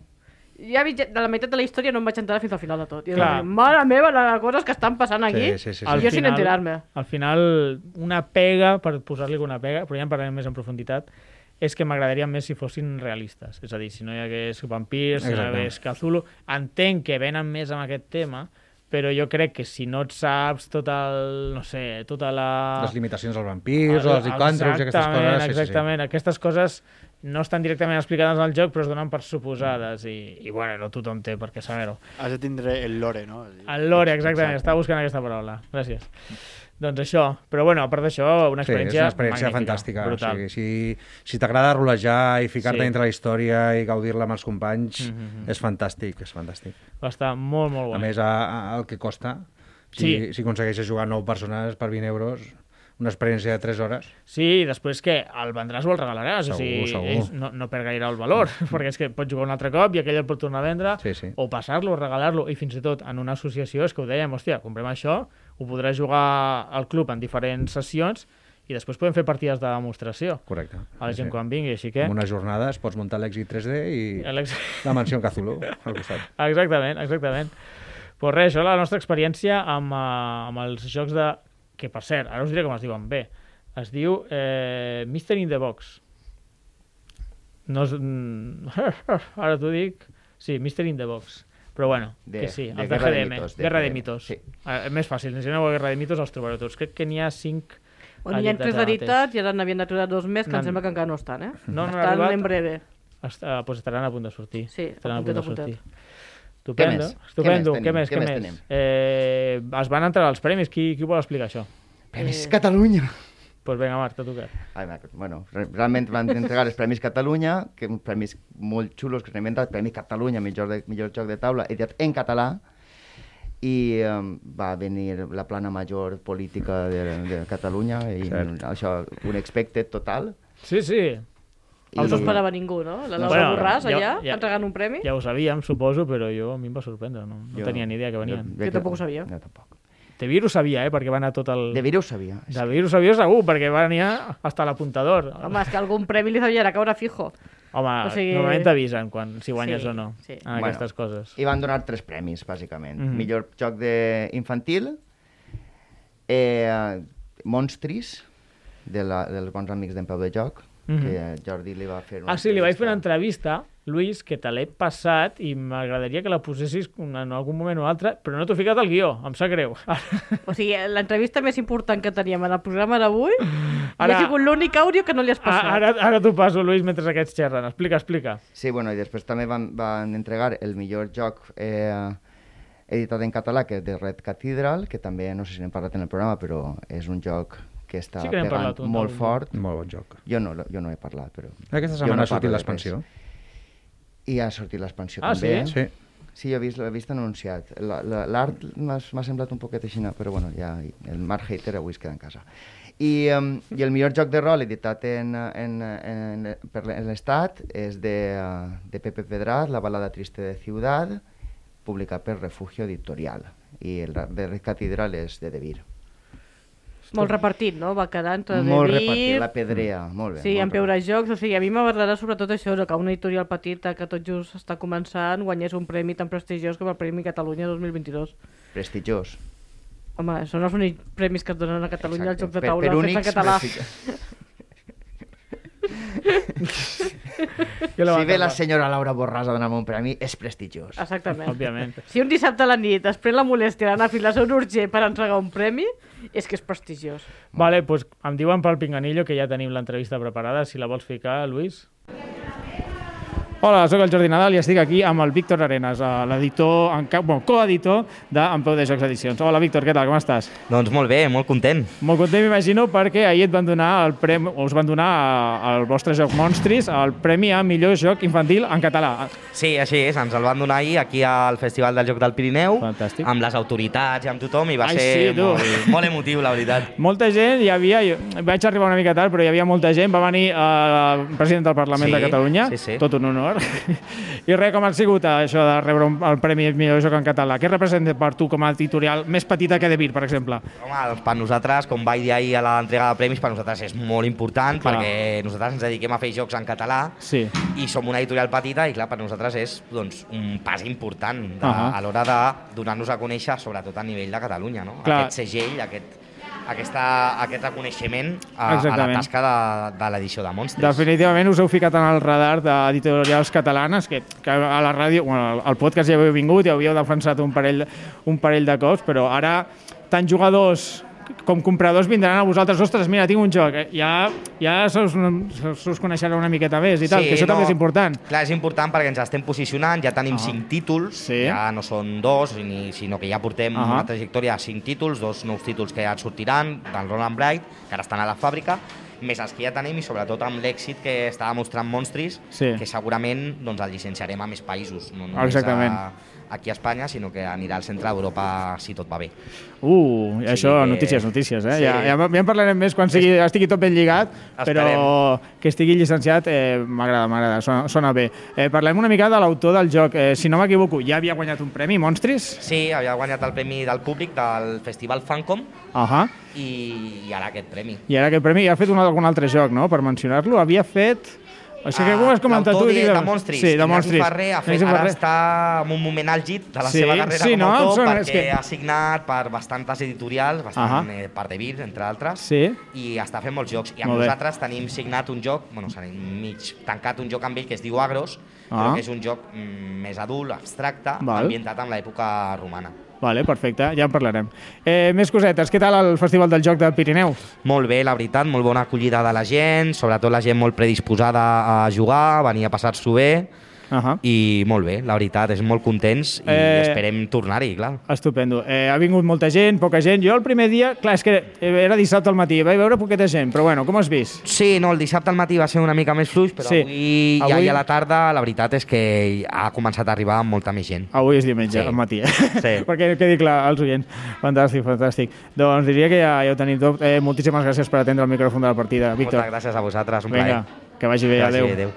Speaker 5: ja vi, de la meitat de la història no em vaig enterar fins al final de tot. I era
Speaker 2: Clar.
Speaker 5: com, mare meva, les coses que estan passant aquí.
Speaker 3: Sí, sí, sí, sí.
Speaker 5: Jo sin enterar-me.
Speaker 2: Al final, una pega, per posar-li alguna pega, però ja en parlarem més en profunditat, és que m'agradaria més si fossin realistes. És a dir, si no hi hagués vampirs, si no hi
Speaker 3: Exacte.
Speaker 2: hagués Cthulhu... Entenc que venen més amb aquest tema, però jo crec que si no et saps tot el... no sé, tota la...
Speaker 3: Les limitacions als vampirs, o als icàntrops i aquestes
Speaker 2: Ah, Exactament,
Speaker 3: coses. Sí, sí, sí.
Speaker 2: Exactament, aquestes coses no estan directament explicades al joc, però es donen per suposades i, i bueno, no tothom té per què saber-ho.
Speaker 6: Has de tindre el lore, no?
Speaker 2: El lore, exactament, estava buscant aquesta paraula.
Speaker 3: (laughs)
Speaker 2: Gràcies. Doncs això, però bueno, a part d'això, una
Speaker 3: Sí, és
Speaker 2: experiència
Speaker 3: una experiència
Speaker 2: magnífica,
Speaker 3: fantàstica.
Speaker 2: Brutal.
Speaker 3: O sigui, si si t'agrada rolejar i ficar-te
Speaker 2: Sí.
Speaker 3: dintre la història i gaudir-la amb els companys, és fantàstic, és fantàstic.
Speaker 2: Va estar molt, molt
Speaker 3: A
Speaker 2: guai.
Speaker 3: més, a, a, el que costa, si,
Speaker 2: Sí.
Speaker 3: si aconsegueixes jugar 9 persones per 20 euros, una experiència de 3 hores,
Speaker 2: Sí, i després que el vendràs o el regalaràs, o
Speaker 3: Segur,
Speaker 2: sigui,
Speaker 3: segur.
Speaker 2: ells no, no perd gaire el
Speaker 3: (laughs)
Speaker 2: valor, perquè és que pots jugar un altre cop i aquell el pot tornar a vendre,
Speaker 3: Sí, sí.
Speaker 2: o passar-lo, o regalar-lo, i fins i tot en una associació, és que ho dèiem, hòstia, comprem això, ho podràs jugar al club en diferents sessions i després podem fer partides de demostració
Speaker 3: correcte.
Speaker 2: a la gent
Speaker 3: Sí.
Speaker 2: quan vingui, així que...
Speaker 3: En unes jornades pots muntar l'èxit 3D i
Speaker 2: Alex...
Speaker 3: la mansió en Cthulhu al costat.
Speaker 2: Exactament, exactament. Però res, això la nostra experiència amb, eh, amb els jocs de... Que, per cert, ara us diré com es diuen bé. Es diu eh, Mystery in the Box. No és... mm, (laughs) Ara t'ho dic. Sí, Mystery in the Box. Però bueno,
Speaker 4: De-
Speaker 2: que sí,
Speaker 4: de
Speaker 2: els de,
Speaker 4: Guerra de
Speaker 2: GDM.
Speaker 4: Mitos, de
Speaker 2: Guerra de
Speaker 4: GDM,
Speaker 2: Mitos.
Speaker 4: sí.
Speaker 2: Eh, més fàcil, si aneu a Guerra de Mitos els trobareu tots. Crec que n'hi ha cinc...
Speaker 5: On hi ha tres
Speaker 2: ara mateix.
Speaker 5: veritats i ara n'havien d'aturar dos més, que
Speaker 2: N'han-
Speaker 5: em sembla que encara no estan, eh?
Speaker 2: No, no han
Speaker 5: estan
Speaker 2: arribat.
Speaker 5: en breve.
Speaker 2: Est- eh, doncs estaran a punt de sortir.
Speaker 5: Sí,
Speaker 2: estaran
Speaker 5: apuntat,
Speaker 2: sortir.
Speaker 5: apuntat.
Speaker 2: Estupendo,
Speaker 4: Què més?
Speaker 2: estupendo.
Speaker 4: Què més
Speaker 2: Què més, què
Speaker 4: tenim?
Speaker 2: més?
Speaker 4: Què més
Speaker 2: Eh, es van entrar els premis. Qui, qui ho vol explicar, això?
Speaker 4: Premis
Speaker 5: Eh.
Speaker 4: Catalunya.
Speaker 2: Doncs pues vinga, Marc, t'ha tocat.
Speaker 4: Ah, d'acord. Bueno, re- realment van entregar els Premis Catalunya, que uns premis molt xulos que s'han inventat, Premi Catalunya, millor, de, millor joc de taula, editat en català, i um, va venir la plana major política de, de Catalunya, i
Speaker 3: Cert.
Speaker 4: això, un expected total.
Speaker 2: Sí, sí,
Speaker 4: I,
Speaker 5: Els no esperava ningú, no? La Laura
Speaker 2: Bueno,
Speaker 5: bueno, Borràs,
Speaker 2: ja-
Speaker 5: allà,
Speaker 2: ja-
Speaker 5: entregant un premi.
Speaker 2: ja ho sabíem, suposo, però jo a mi em va sorprendre. No, no tenia ni idea que venien.
Speaker 5: Jo tampoc ho sabia.
Speaker 4: Jo tampoc.
Speaker 2: De virus sabia, eh, perquè va anar tot el...
Speaker 4: De virus sabia.
Speaker 2: De virus sabia segur, perquè va venir hasta l'apuntador.
Speaker 5: Home, és que algun premi li devia caure fijo.
Speaker 2: Home
Speaker 5: o sigui-
Speaker 2: normalment t'avisen quan, si guanyes
Speaker 5: Sí,
Speaker 2: o no,
Speaker 5: sí.
Speaker 2: en aquestes coses.
Speaker 4: I van donar tres premis, bàsicament. Mm
Speaker 2: Mhm.
Speaker 4: -hmm. Millor joc de infantil, eh, Monstris, de la, dels bons amics d'en Peu de Joc, mm
Speaker 2: Mhm.
Speaker 4: -hmm. que Jordi li va fer... una
Speaker 2: Ah, sí, li vaig fer una
Speaker 4: entrevista.
Speaker 2: entrevista, Lluís, que te l'he passat i m'agradaria que la posessis en algun moment o altre, però no t'ho he ficat al guió, em sap greu.
Speaker 4: Ah,
Speaker 2: Ara,
Speaker 5: O sigui, l'entrevista més important que teníem en el programa d'avui
Speaker 2: Ara-
Speaker 5: ara... ha sigut l'únic àudio que no li has passat.
Speaker 2: ara, ara t'ho passo, Lluís, mentre aquests xerren. Explica, explica.
Speaker 4: Sí, bueno, i després també van, van entregar el millor joc eh, editat en català, que és de Red Cathedral, que també, no sé si n'hem parlat en el programa, però és un joc que està
Speaker 2: Sí que n'hem
Speaker 4: pegant
Speaker 2: parlat un
Speaker 4: molt
Speaker 2: algun
Speaker 4: fort.
Speaker 3: Molt bon joc.
Speaker 4: Jo no, jo no he parlat, però...
Speaker 3: Aquesta
Speaker 4: jo
Speaker 3: setmana
Speaker 4: no
Speaker 3: ha sortit
Speaker 4: parlo de
Speaker 3: l'expansió.
Speaker 4: res. I ha sortit l'expansió
Speaker 2: Ah,
Speaker 4: també.
Speaker 2: sí?
Speaker 3: Sí.
Speaker 4: Sí, jo he vist, l'he vist anunciat. La- la- L'art m'ha m'ha semblat un poquet així, però bueno, ja el Mark Hater avui es queda en casa. I, um, I el millor joc de rol editat en, eh, en, eh, en, en, per l'e- en l'Estat és de, eh, de Pepe Pedraz, La balada triste de Ciudad, publicat per Refugio Editorial. I el ra- de Red Catedral és de De Vir.
Speaker 5: Molt repartit, no? Va quedar entre
Speaker 4: molt
Speaker 5: David,
Speaker 4: repartit, la pedrea, molt bé.
Speaker 5: Mm. Sí,
Speaker 4: molt
Speaker 5: en Peure Jocs, o sigui, a mi m'agradarà sobretot això, no, que una editorial petita que tot just està començant guanyés un premi tan prestigiós com el Premi Catalunya 2022.
Speaker 4: repartit. Prestigiós.
Speaker 5: Home, són els únics premis que es donen a Catalunya als
Speaker 4: Exacte.
Speaker 5: Jocs de
Speaker 4: Per-
Speaker 5: Taula
Speaker 4: per
Speaker 5: fets
Speaker 4: únics,
Speaker 5: en català.
Speaker 4: prestigiós.
Speaker 2: Jo
Speaker 4: Si ve la
Speaker 2: acabar.
Speaker 4: senyora Laura Borràs a donar-me un premi, és prestigiós.
Speaker 5: Exactament.
Speaker 2: Òbviament.
Speaker 5: Si un dissabte a la nit es pren la molèstia d'anar fins a un urgent per entregar un premi, és que és prestigiós.
Speaker 2: Vale, doncs pues em diuen pel Pinganillo que ja tenim l'entrevista preparada, si la vols ficar, Luis. Hola, sóc el Jordi Nadal i estic aquí amb el Víctor Arenas, eh, l'editor, en ca- bueno, coeditor de En Peu de Jocs Edicions. Hola, Víctor, què tal? Com estàs?
Speaker 3: Doncs molt bé, molt content.
Speaker 2: Molt content, m'imagino, perquè ahir et van donar el premi, us van donar eh, al vostre joc Monstris el premi a millor joc infantil en català.
Speaker 3: Sí, així és, ens el van donar ahir aquí al Festival del Joc del Pirineu,
Speaker 2: Fantàstic.
Speaker 3: amb les autoritats i amb tothom, i va
Speaker 2: Ai,
Speaker 3: ser
Speaker 2: sí, tu.
Speaker 3: molt, molt emotiu, la veritat.
Speaker 2: Molta gent, hi havia, jo vaig arribar una mica tard, però hi havia molta gent, va venir eh, el president del Parlament
Speaker 3: Sí,
Speaker 2: de Catalunya,
Speaker 3: sí, sí.
Speaker 2: tot un honor. I res, com ha sigut eh, això de rebre un, el Premi Millor Joc en Català? Què representa per tu com a editorial més petita que De Vir, per exemple?
Speaker 3: Home, doncs per nosaltres, com vaig dir ahir a l'entrega de premis, per nosaltres és molt important,
Speaker 2: Clar.
Speaker 3: perquè nosaltres ens dediquem a fer jocs en català,
Speaker 2: Sí.
Speaker 3: i som una editorial petita i clar, per nosaltres és doncs, un pas important de,
Speaker 2: Ahà.
Speaker 3: a l'hora de donar-nos a conèixer, sobretot a nivell de Catalunya, no?
Speaker 2: Clar.
Speaker 3: Aquest segell, aquest, aquesta, aquest reconeixement a, a la
Speaker 2: Exactament.
Speaker 3: tasca de, de l'edició de Monstres.
Speaker 2: Definitivament us heu ficat en el radar d'editorials catalanes, que, que a la ràdio, bueno, al podcast ja havíeu vingut i havíeu defensat un parell, un parell de cops, però ara tant jugadors com compradors vindran a vosaltres, ostres, mira, tinc un joc, eh, ja, ja se us, se us coneixerà una miqueta més i tal, que això
Speaker 3: no,
Speaker 2: també és important.
Speaker 3: Clar, és important perquè ens estem posicionant, ja tenim
Speaker 2: Ah.
Speaker 3: ah. cinc títols,
Speaker 2: Sí.
Speaker 3: ja Ah, no són dos, ni, sinó que ja portem
Speaker 2: Ah.
Speaker 3: una trajectòria de cinc títols, dos nous títols que ja et sortiran, del Roland Bright, que ara estan a la fàbrica, més els que ja tenim i sobretot amb l'èxit que està demostrant Monstris,
Speaker 2: Sí.
Speaker 3: que segurament doncs, el llicenciarem a més països, no només
Speaker 2: Exactament.
Speaker 3: A, aquí a Espanya, sinó que anirà al centre d'Europa si tot va bé.
Speaker 2: Uh, i això,
Speaker 3: que-
Speaker 2: notícies, notícies, eh?
Speaker 3: Sí.
Speaker 2: Ja, ja, ja en parlarem més quan sigui, estigui tot ben lligat, però que estigui llicenciat eh, m'agrada, m'agrada, sona, sona bé. Eh, parlem una mica de l'autor del joc. Eh, si no m'equivoco, ja havia guanyat un premi, Monstris?
Speaker 3: Sí, havia guanyat el premi del públic del Festival Fancom
Speaker 2: Ahà.
Speaker 3: i, i ara aquest premi.
Speaker 2: I ara aquest premi ja ha fet un, algun altre joc, no?, per mencionar-lo. Havia fet... O sigui, que ho has comentat tu.
Speaker 3: Ah, L'autor de,
Speaker 2: digue'm.
Speaker 3: de Monstris.
Speaker 2: Sí, de
Speaker 3: Iñaki
Speaker 2: Monstris.
Speaker 3: Ferrer ha fet,
Speaker 2: Iñaki
Speaker 3: ara
Speaker 2: Ferrer.
Speaker 3: està en un moment àlgid de la
Speaker 2: Sí,
Speaker 3: seva carrera
Speaker 2: sí,
Speaker 3: com
Speaker 2: no?
Speaker 3: a autor
Speaker 2: Em sona, és
Speaker 3: perquè
Speaker 2: que-
Speaker 3: ha signat per bastantes editorials, bastant,
Speaker 2: Ahà.
Speaker 3: eh, per De Vir, entre altres,
Speaker 2: Sí.
Speaker 3: i està fent molts jocs. I amb
Speaker 2: Molt bé.
Speaker 3: nosaltres tenim signat un joc, bueno, tenim mig tancat un joc amb ell que es diu Agros,
Speaker 2: Ah.
Speaker 3: però que és un joc mm, més adult, abstracte,
Speaker 2: Val.
Speaker 3: ambientat en l'època romana.
Speaker 2: Vale, perfecte, ja en parlarem. Eh, més cosetes, què tal el Festival del Joc del Pirineu?
Speaker 3: Molt bé, la veritat, molt bona acollida de la gent, sobretot la gent molt predisposada a jugar, a venir a passar-s'ho bé,
Speaker 2: Uh -huh.
Speaker 3: i molt bé, la veritat, és molt contents i
Speaker 2: Eh,
Speaker 3: eh... esperem tornar-hi, clar.
Speaker 2: Estupendo. Eh, ha vingut molta gent, poca gent. Jo el primer dia, clar, és que eh, era dissabte al matí, vaig veure poqueta gent, però bueno, com has vist?
Speaker 3: Sí, no, el dissabte al matí va ser una mica més fluix, però
Speaker 2: Sí.
Speaker 3: sí. avui, avui...
Speaker 2: Avui-
Speaker 3: Ja, i a la tarda la veritat és que ha començat a arribar molta més gent.
Speaker 2: Avui és diumenge,
Speaker 3: Sí.
Speaker 2: al matí, eh?
Speaker 3: (laughs) Sí.
Speaker 2: (laughs) Perquè quedi clar als oients. Fantàstic, fantàstic. Doncs diria que ja, ja ho tenim tot. Eh, moltíssimes gràcies per atendre el micròfon de la partida,
Speaker 3: Moltes
Speaker 2: Víctor.
Speaker 3: gràcies a vosaltres, un
Speaker 2: Vinga,
Speaker 3: plaer.
Speaker 2: que vagi bé,
Speaker 3: Gràcies,
Speaker 2: adeu.
Speaker 3: adeu.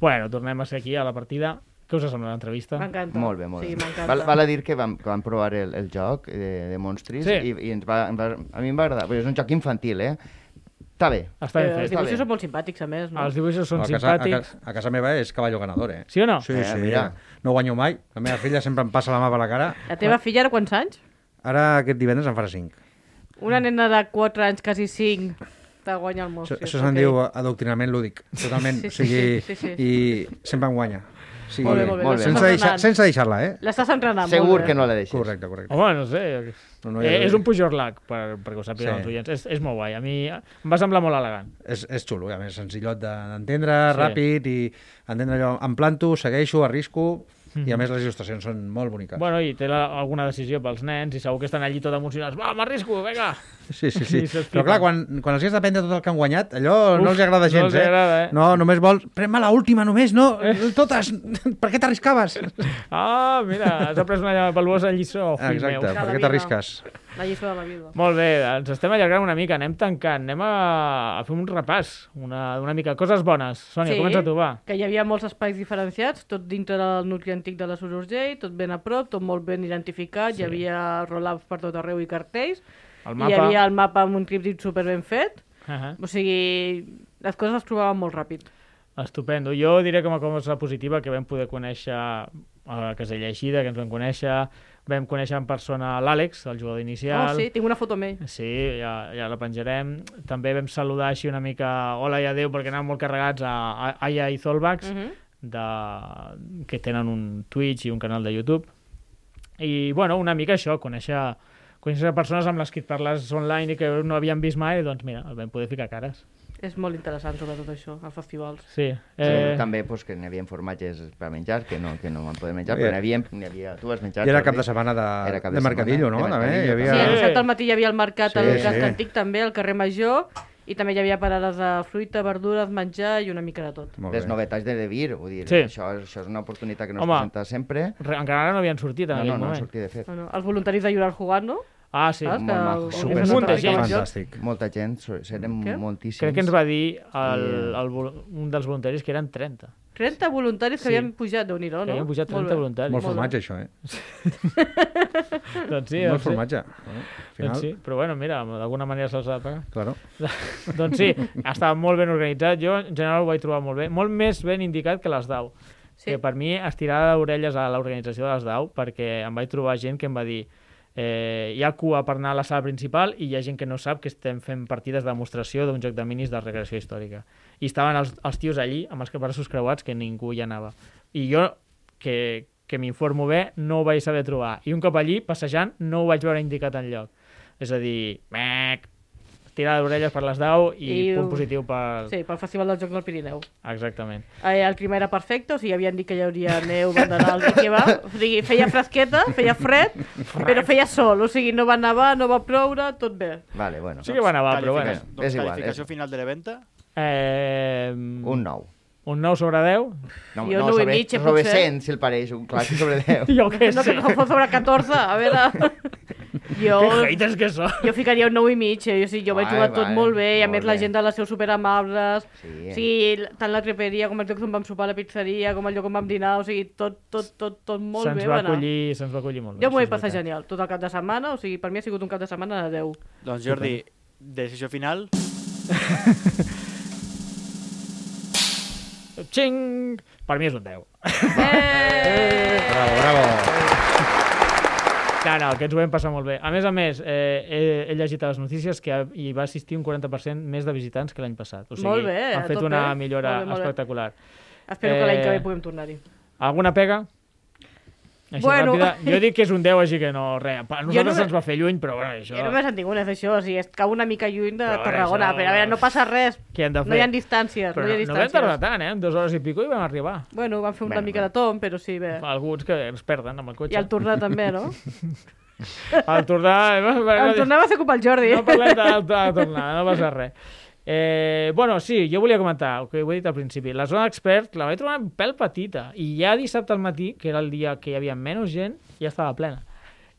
Speaker 2: Bueno, tornem a ser aquí a la partida. Què us sembla l'entrevista?
Speaker 5: M'encanta.
Speaker 4: Molt bé, molt
Speaker 5: Sí,
Speaker 4: bé.
Speaker 5: m'encanta.
Speaker 4: val, val a dir que vam, que vam provar el, el joc eh, de, de Monstris
Speaker 2: Sí.
Speaker 4: sí. i, i ens va, ens va, a mi em va agradar, perquè és un joc infantil, eh? Està bé.
Speaker 2: Està
Speaker 5: Però
Speaker 2: ben
Speaker 5: Eh, els
Speaker 2: fet. Ah,
Speaker 5: dibuixos són molt simpàtics, a més, no?
Speaker 2: Els dibuixos són
Speaker 10: a casa, a,
Speaker 2: simpàtics.
Speaker 10: ca- a casa meva és cavallo ganador, eh?
Speaker 2: Sí o no?
Speaker 10: Sí,
Speaker 4: Eh,
Speaker 10: sí,
Speaker 4: mira.
Speaker 10: no guanyo mai. La meva filla sempre em passa la mà per la cara.
Speaker 5: La
Speaker 2: Ah.
Speaker 5: teva filla ara quants anys?
Speaker 10: Ara aquest divendres en farà 5.
Speaker 5: Una nena de 4 anys, quasi 5, t'ha guanyat el
Speaker 10: Això,
Speaker 5: Monstris.
Speaker 10: això se'n
Speaker 5: Oh, ok.
Speaker 10: diu adoctrinament lúdic, totalment.
Speaker 5: Sí, sí,
Speaker 10: o sigui,
Speaker 5: sí, sí, sí.
Speaker 10: I sempre em guanya. O sigui,
Speaker 5: Molt bé, molt bé.
Speaker 4: Molt bé.
Speaker 10: Sense, deixar, sense deixar-la, eh?
Speaker 5: L'estàs entrenant,
Speaker 4: Segur
Speaker 5: Ah, molt bé.
Speaker 4: que no la deixes.
Speaker 10: Correcte, correcte.
Speaker 2: Home, no sé.
Speaker 10: No, no,
Speaker 2: eh,
Speaker 10: ja-
Speaker 2: és un pujorlac, per, perquè ho sàpiguen
Speaker 10: Sí.
Speaker 2: els oients. És, és molt guai. A mi em va semblar molt elegant.
Speaker 10: És, és xulo, i a més, senzillot de- d'entendre,
Speaker 2: Sí.
Speaker 10: sí. ràpid, i entendre allò, em planto, segueixo, arrisco, i a més les il·lustracions són molt boniques.
Speaker 2: Mhm. Bueno, i té la, alguna decisió pels nens i segur que estan allí tot emocionats. Va, m'arrisco, vinga!
Speaker 10: Sí,
Speaker 2: (laughs)
Speaker 10: sí,
Speaker 2: I
Speaker 10: sí.
Speaker 2: se'ls
Speaker 10: Però
Speaker 2: flipa.
Speaker 10: clar, quan, quan els has de prendre tot el que han guanyat, allò Uf,
Speaker 2: Uf,
Speaker 10: no els agrada
Speaker 2: no
Speaker 10: gens,
Speaker 2: els agrada, eh?
Speaker 10: No, només vols... Pren-me l'última, només, no? Totes! (laughs) per què
Speaker 2: (laughs)
Speaker 10: t'arriscaves?
Speaker 2: Ah, mira, has après una valuosa lliçó, fill
Speaker 10: Exacte,
Speaker 2: meu.
Speaker 10: per
Speaker 5: Cada
Speaker 10: què t'arrisques?
Speaker 5: La lliçó de la vida.
Speaker 2: Molt bé, ens estem allargant una mica, anem tancant, anem a, a fer un repàs, una, una mica. Coses bones. Sònia,
Speaker 5: Sí.
Speaker 2: comença tu, va.
Speaker 5: Que hi havia molts espais diferenciats, tot dintre del nucli antic de la Sorosgell, tot ben a prop, tot molt ben identificat, sí. hi havia roll-ups per tot arreu i cartells,
Speaker 2: El
Speaker 5: hi
Speaker 2: mapa.
Speaker 5: havia el mapa amb un críptic super ben fet,
Speaker 2: Uh -huh.
Speaker 5: o sigui, les coses es trobaven molt ràpid.
Speaker 2: Estupendo. Jo diré com a cosa positiva que vam poder conèixer a la casella eixida, que ens vam conèixer, vam conèixer en persona l'Àlex, el jugador
Speaker 5: Oh,
Speaker 2: inicial.
Speaker 5: sí, tinc una foto amb ell.
Speaker 2: Sí, ja, ja la penjarem. També vam saludar així una mica hola i adeu perquè anàvem molt carregats a, a Aya i Zolbax,
Speaker 5: Mhm.
Speaker 2: de... que tenen un Twitch i un canal de YouTube. I, bueno, una mica això, conèixer, conèixer persones amb les que et parles online i que no havien vist mai, doncs mira, vam poder ficar cares.
Speaker 5: És molt interessant sobre tot això, els festivals.
Speaker 2: Sí.
Speaker 4: Sí,
Speaker 2: Eh,
Speaker 4: també pues, que n'hi havia formatges per menjar, que no, que no van poder menjar,
Speaker 3: Bé.
Speaker 4: però n'hi havia, n'hi havia... Tu vas menjar...
Speaker 3: I era
Speaker 4: Jordi?
Speaker 3: cap de setmana de,
Speaker 4: Era cap
Speaker 3: de, Mercadillo,
Speaker 4: setmana,
Speaker 3: no?
Speaker 10: eh?
Speaker 4: de
Speaker 3: també, hi
Speaker 4: Mercadillo,
Speaker 5: Sí,
Speaker 3: havia...
Speaker 5: el dissabte al matí hi havia el mercat
Speaker 4: Sí,
Speaker 5: al
Speaker 3: sí.
Speaker 5: Casc Antic també, al carrer Major, i també hi havia parades de fruita, verdures, menjar i una mica de tot.
Speaker 3: Molt
Speaker 4: les
Speaker 3: bé.
Speaker 4: novetats de Devir, vull dir,
Speaker 2: Sí.
Speaker 4: això, això és una oportunitat que no
Speaker 2: Home.
Speaker 4: es presenta sempre.
Speaker 2: Re, encara no havien sortit en
Speaker 4: No,
Speaker 2: aquell
Speaker 4: no, no,
Speaker 2: moment.
Speaker 4: sortir de fet.
Speaker 5: Bueno, els voluntaris de Llorar jugant, no?
Speaker 2: Ah, sí.
Speaker 5: Saps?
Speaker 4: molt
Speaker 5: Que
Speaker 4: maco,
Speaker 5: organitzen
Speaker 4: super
Speaker 5: una
Speaker 2: Molta
Speaker 5: parada
Speaker 2: gent.
Speaker 5: de jocs.
Speaker 3: Fantàstic.
Speaker 4: Molta gent, so- serem
Speaker 5: Què?
Speaker 4: moltíssims.
Speaker 2: Crec que ens va dir el,
Speaker 4: I-
Speaker 2: el, vol- un dels voluntaris que eren 30.
Speaker 5: 30 voluntaris
Speaker 2: Sí.
Speaker 5: que havien pujat, déu nhi no?
Speaker 2: Que havien pujat
Speaker 5: Molt
Speaker 2: 30
Speaker 5: bé.
Speaker 2: voluntaris.
Speaker 3: Molt
Speaker 5: Molt bé.
Speaker 3: formatge, això, eh?
Speaker 2: Doncs sí,
Speaker 3: Molt
Speaker 2: doncs sí.
Speaker 3: formatge. eh? Al
Speaker 2: Doncs
Speaker 3: final,
Speaker 2: sí, però bueno, mira, d'alguna manera se'ls ha de pagar.
Speaker 3: claro.
Speaker 2: doncs sí, (laughs) estava molt ben organitzat, jo en general ho vaig trobar molt bé, molt més ben indicat que les DAO.
Speaker 5: Sí.
Speaker 2: Sí. Que per mi estirada d'orelles a l'organització de les DAO perquè em vaig trobar gent que em va dir eh, hi ha cua per anar a la sala principal i hi ha gent que no sap que estem fent partides de demostració d'un joc de minis de regressió històrica. I estaven els, els tios allí amb els braços creuats que ningú hi anava. I jo, que, que m'informo bé, no ho vaig saber trobar. I un cop allí, passejant, no ho vaig veure indicat en lloc. És a dir, mec, tirada d'orelles per les DAO i, I
Speaker 5: I-
Speaker 2: punt positiu per... Sí.
Speaker 5: Sí, pel Festival dels Jocs del Pirineu.
Speaker 2: Exactament.
Speaker 5: Eh, el clima era perfecte, o sigui, havien dit que hi hauria neu, banderals i què va. O sigui, feia fresqueta, feia fred, però feia sol. O sigui, no va nevar, no va ploure, tot bé.
Speaker 4: Vale, bueno.
Speaker 2: Sí que va nevar, però bueno.
Speaker 4: Qualifica-
Speaker 6: Doncs
Speaker 4: És igual,
Speaker 6: qualificació
Speaker 4: és-
Speaker 6: final de la venta.
Speaker 2: Eh,
Speaker 4: Un 9.
Speaker 2: un 9 sobre 10?
Speaker 4: No,
Speaker 5: Jo nou i mig, eh,
Speaker 4: sobre
Speaker 5: potser.
Speaker 4: 100, si el pareix, un clàssic sobre (laughs) 10.
Speaker 2: (laughs) Jo què
Speaker 5: No
Speaker 2: sé.
Speaker 5: que no fos sobre 14, a veure... Jo,
Speaker 2: Que haters que són.
Speaker 5: jo ficaria un 9 i mig, eh? jo, sí, jo vaig
Speaker 4: Vale,
Speaker 5: jugar tot
Speaker 4: vale,
Speaker 5: molt bé, i a
Speaker 4: molt
Speaker 5: més la
Speaker 4: bé.
Speaker 5: gent de les seus superamables,
Speaker 4: Sí.
Speaker 5: o sigui, tant la creperia com el lloc on vam sopar a la pizzeria, com el lloc on vam dinar, o sigui, tot, tot, tot, tot molt
Speaker 2: Se'ns
Speaker 5: bé
Speaker 2: va
Speaker 5: va anar.
Speaker 2: acollir, se'ns va acollir molt bé.
Speaker 5: Jo m'ho
Speaker 2: sí,
Speaker 5: he
Speaker 2: és
Speaker 5: passat
Speaker 2: veritat.
Speaker 5: genial, tot el cap de setmana, o sigui, per mi ha sigut un cap de setmana de 10.
Speaker 6: Doncs Jordi, decisió final.
Speaker 2: Xing! Per mi és un 10.
Speaker 5: Eh!
Speaker 3: Bravo, bravo.
Speaker 2: No, no, que ens ho vam passar molt bé. A més a més, eh, he, he llegit a les notícies que hi va assistir un 40% més de visitants que l'any passat. O sigui,
Speaker 5: Molt bé,
Speaker 2: han
Speaker 5: a
Speaker 2: fet
Speaker 5: tope.
Speaker 2: una millora
Speaker 5: Molt bé, molt bé.
Speaker 2: espectacular.
Speaker 5: Espero que l'any que
Speaker 2: Eh,
Speaker 5: ve puguem tornar-hi.
Speaker 2: Alguna pega? Així
Speaker 5: Bueno.
Speaker 2: ràpida. Jo dic que és un 10, així que no, res. A nosaltres
Speaker 5: només-
Speaker 2: ens va fer lluny, però bueno, això...
Speaker 5: Jo només en tinc una d'això, o sigui, es cau una mica lluny de
Speaker 2: Però a veure,
Speaker 5: Tarragona,
Speaker 2: això-
Speaker 5: però a veure, no passa res.
Speaker 2: Què hem de fer?
Speaker 5: No hi ha distàncies,
Speaker 2: Però no,
Speaker 5: no hi ha
Speaker 2: no vam
Speaker 5: distàncies.
Speaker 2: tardar tant, eh? En dues hores i pico i vam arribar.
Speaker 5: Bueno, van fer una
Speaker 4: Bueno,
Speaker 5: mica de tom, però sí, bé.
Speaker 2: Alguns que es perden amb el cotxe.
Speaker 5: I el tornar també,
Speaker 2: (laughs)
Speaker 5: no?
Speaker 2: El tornar...
Speaker 5: El tornar va ser culpa del Jordi.
Speaker 2: No parlem de, de tornar, no passa res. Eh, bueno, sí, jo volia comentar, el que ho he dit al principi, la zona expert la vaig trobar un pèl petita i ja dissabte al matí, que era el dia que hi havia menys gent, ja estava plena.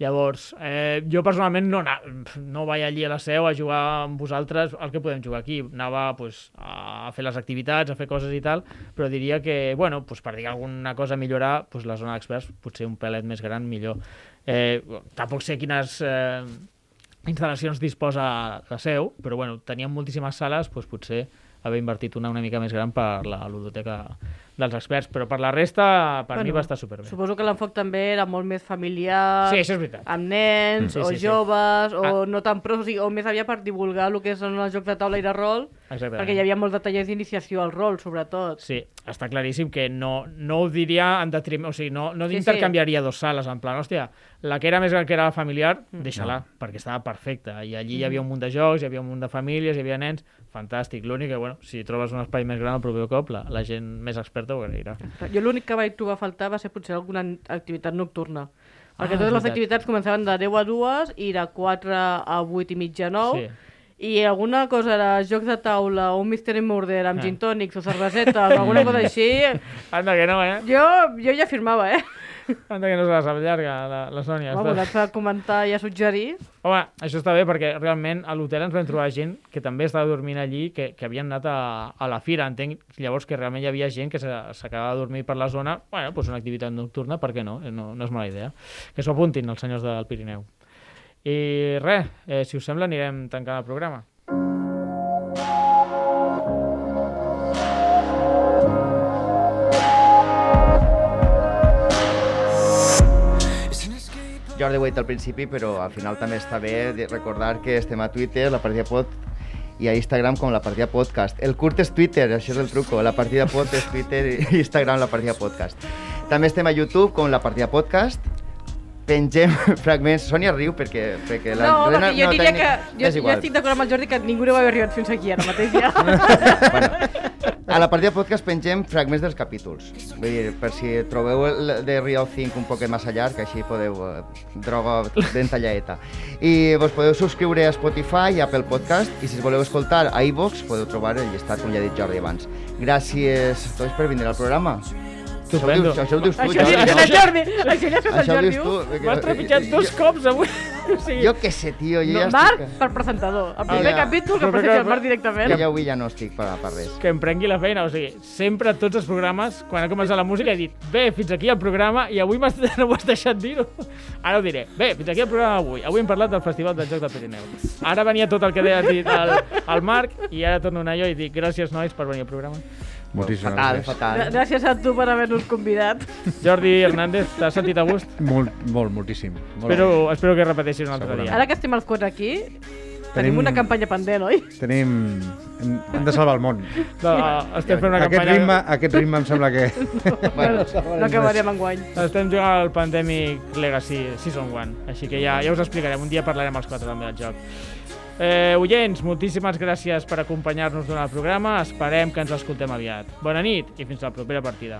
Speaker 2: Llavors, eh, jo personalment no, ana- no vaig allí a la seu a jugar amb vosaltres el que podem jugar aquí. Anava pues, a fer les activitats, a fer coses i tal, però diria que, bueno, pues, per dir alguna cosa a millorar, pues, la zona d'experts potser un pelet més gran millor. Eh, tampoc sé quines... Eh, instal·lacions disposa la seu, però bueno, teníem moltíssimes sales, doncs potser haver invertit una una mica més gran per la ludoteca dels experts, però per la resta per bueno, mi va estar superbé.
Speaker 5: (laughs) Suposo que l'enfoc també era molt més familiar,
Speaker 2: Sí, això és veritat. Mm.
Speaker 5: amb nens,
Speaker 2: Sí,
Speaker 5: o
Speaker 2: sí, Ah. sí.
Speaker 5: joves, o no tan pros, o, sigui, o més aviat per divulgar el que són els jocs de taula i de rol,
Speaker 2: Exactament.
Speaker 5: perquè hi havia molts de tallers d'iniciació al rol, sobretot.
Speaker 2: Sí, està claríssim que no, no ho diria en detriment, o sigui, no, no
Speaker 5: Sí,
Speaker 2: intercanviaria dos sales, en plan, hòstia, la que era més gran que era la familiar,
Speaker 5: Mm.
Speaker 2: deixa-la, perquè estava perfecta, i allí hi havia un munt de jocs, hi havia un munt de famílies, hi havia nens, fantàstic, l'únic que, bueno, si trobes un espai més gran el proper cop, la, la gent més experta ho agrairà.
Speaker 5: Jo l'únic que vaig trobar a faltar va ser potser alguna activitat nocturna.
Speaker 2: Ah,
Speaker 5: Perquè totes
Speaker 2: és
Speaker 5: les
Speaker 2: veritat.
Speaker 5: activitats començaven de 10 a 2 i de 4 a 8 i mitja a 9.
Speaker 2: Sí.
Speaker 5: I alguna cosa era jocs de taula o un Mystery Murder amb
Speaker 2: Ah.
Speaker 5: gin tònics o
Speaker 2: (laughs)
Speaker 5: cervesetes o alguna cosa així.
Speaker 2: Anda que no, eh?
Speaker 5: Jo, jo ja firmava, eh?
Speaker 2: Anda que no se les allarga, la, la Sònia.
Speaker 5: Ja Vamos,
Speaker 2: Està...
Speaker 5: l'has de comentar i a suggerir.
Speaker 2: Home, això està bé perquè realment a l'hotel ens vam trobar gent que també estava dormint allí, que, que havien anat a, a la fira, entenc llavors que realment hi havia gent que se- s'acabava de dormir per la zona, bueno, doncs una activitat nocturna, per què no? Eh, No, no és mala idea. Que s'ho apuntin els senyors del Pirineu. I res, eh, si us sembla anirem tancant el programa.
Speaker 4: Jordi ho ha dit al principi, però al final també està bé de recordar que estem a Twitter, la partida pot, i a Instagram com la partida podcast. El curt és Twitter, això és el truco. La partida pot és (laughs) Twitter i Instagram la partida podcast. També estem a YouTube com la partida podcast pengem (laughs) fragments... Sònia riu perquè... perquè la
Speaker 5: No,
Speaker 4: Lorena
Speaker 5: perquè jo diria
Speaker 4: teni-
Speaker 5: que... Jo,
Speaker 4: és
Speaker 5: jo
Speaker 4: igual.
Speaker 5: estic d'acord amb el Jordi que ningú no va haver arribat fins aquí ara mateix
Speaker 4: (laughs)
Speaker 5: ja.
Speaker 4: A la partida podcast pengem fragments dels capítols. Vull dir, per si trobeu el de Real 5 un poquet massa llarg, així podeu eh, droga ben tallaeta. I vos podeu subscriure a Spotify i a Apple Podcast, i si voleu escoltar a iVox podeu trobar el llistat, com ja ha dit Jordi abans. Gràcies a tots per vindre al programa. Això ho
Speaker 2: Estupendo.
Speaker 4: dius, això ho dius tu,
Speaker 5: Això ja
Speaker 4: Jordi.
Speaker 5: és el Jordi. Això ja és el
Speaker 4: Això ho
Speaker 5: Jordi.
Speaker 4: dius tu.
Speaker 5: Uf.
Speaker 4: perquè-
Speaker 2: M'has trepitjat dos cops avui. (laughs) O sigui,
Speaker 4: Jo què sé, tio, jo ja
Speaker 5: Marc,
Speaker 4: estic... Ah,
Speaker 5: per presentador. El primer
Speaker 4: ja.
Speaker 5: capítol que
Speaker 2: Però
Speaker 5: presenti
Speaker 2: que-
Speaker 5: el Marc
Speaker 4: Jo
Speaker 5: directament.
Speaker 4: ja avui ja no estic per, per res.
Speaker 2: que em prengui la feina, o sigui, sempre a tots els programes, quan ha començat la música he dit, bé, fins aquí el programa, i avui m'has- (laughs) no m'ho has deixat dir-ho. Ara ho diré, bé, fins aquí el programa avui. Avui hem parlat del Festival del Joc del Pirineu. Ara venia tot el que deia dit el, el Marc, i ara torno a anar jo i dic, gràcies, nois, per venir al programa.
Speaker 3: Moltíssimes
Speaker 4: Fatal,
Speaker 3: gràcies.
Speaker 5: Gra-
Speaker 4: fatal.
Speaker 5: Gràcies a tu per haver-nos convidat.
Speaker 2: Jordi Hernández, t'has sentit a gust?
Speaker 3: Molt, molt, moltíssim. Molt
Speaker 2: Espero, espero que repeteixis un altre dia.
Speaker 5: Ara que estem els quatre aquí,
Speaker 3: Tenim-
Speaker 5: tenim una campanya pendent, oi?
Speaker 3: Tenim... Hem, hem de salvar el món.
Speaker 2: No, estem fent una
Speaker 3: aquest,
Speaker 2: campanya...
Speaker 3: ritme, aquest ritme em sembla que...
Speaker 2: (laughs)
Speaker 4: Bueno,
Speaker 5: (laughs) No acabarem enguany.
Speaker 2: Estem jugant al Pandemic Legacy Season 1, així que ja, ja us explicarem, un dia parlarem els quatre també del joc. Eh, oients, moltíssimes gràcies per acompanyar-nos durant el programa, esperem que ens escoltem aviat. Bona nit i fins a la propera partida.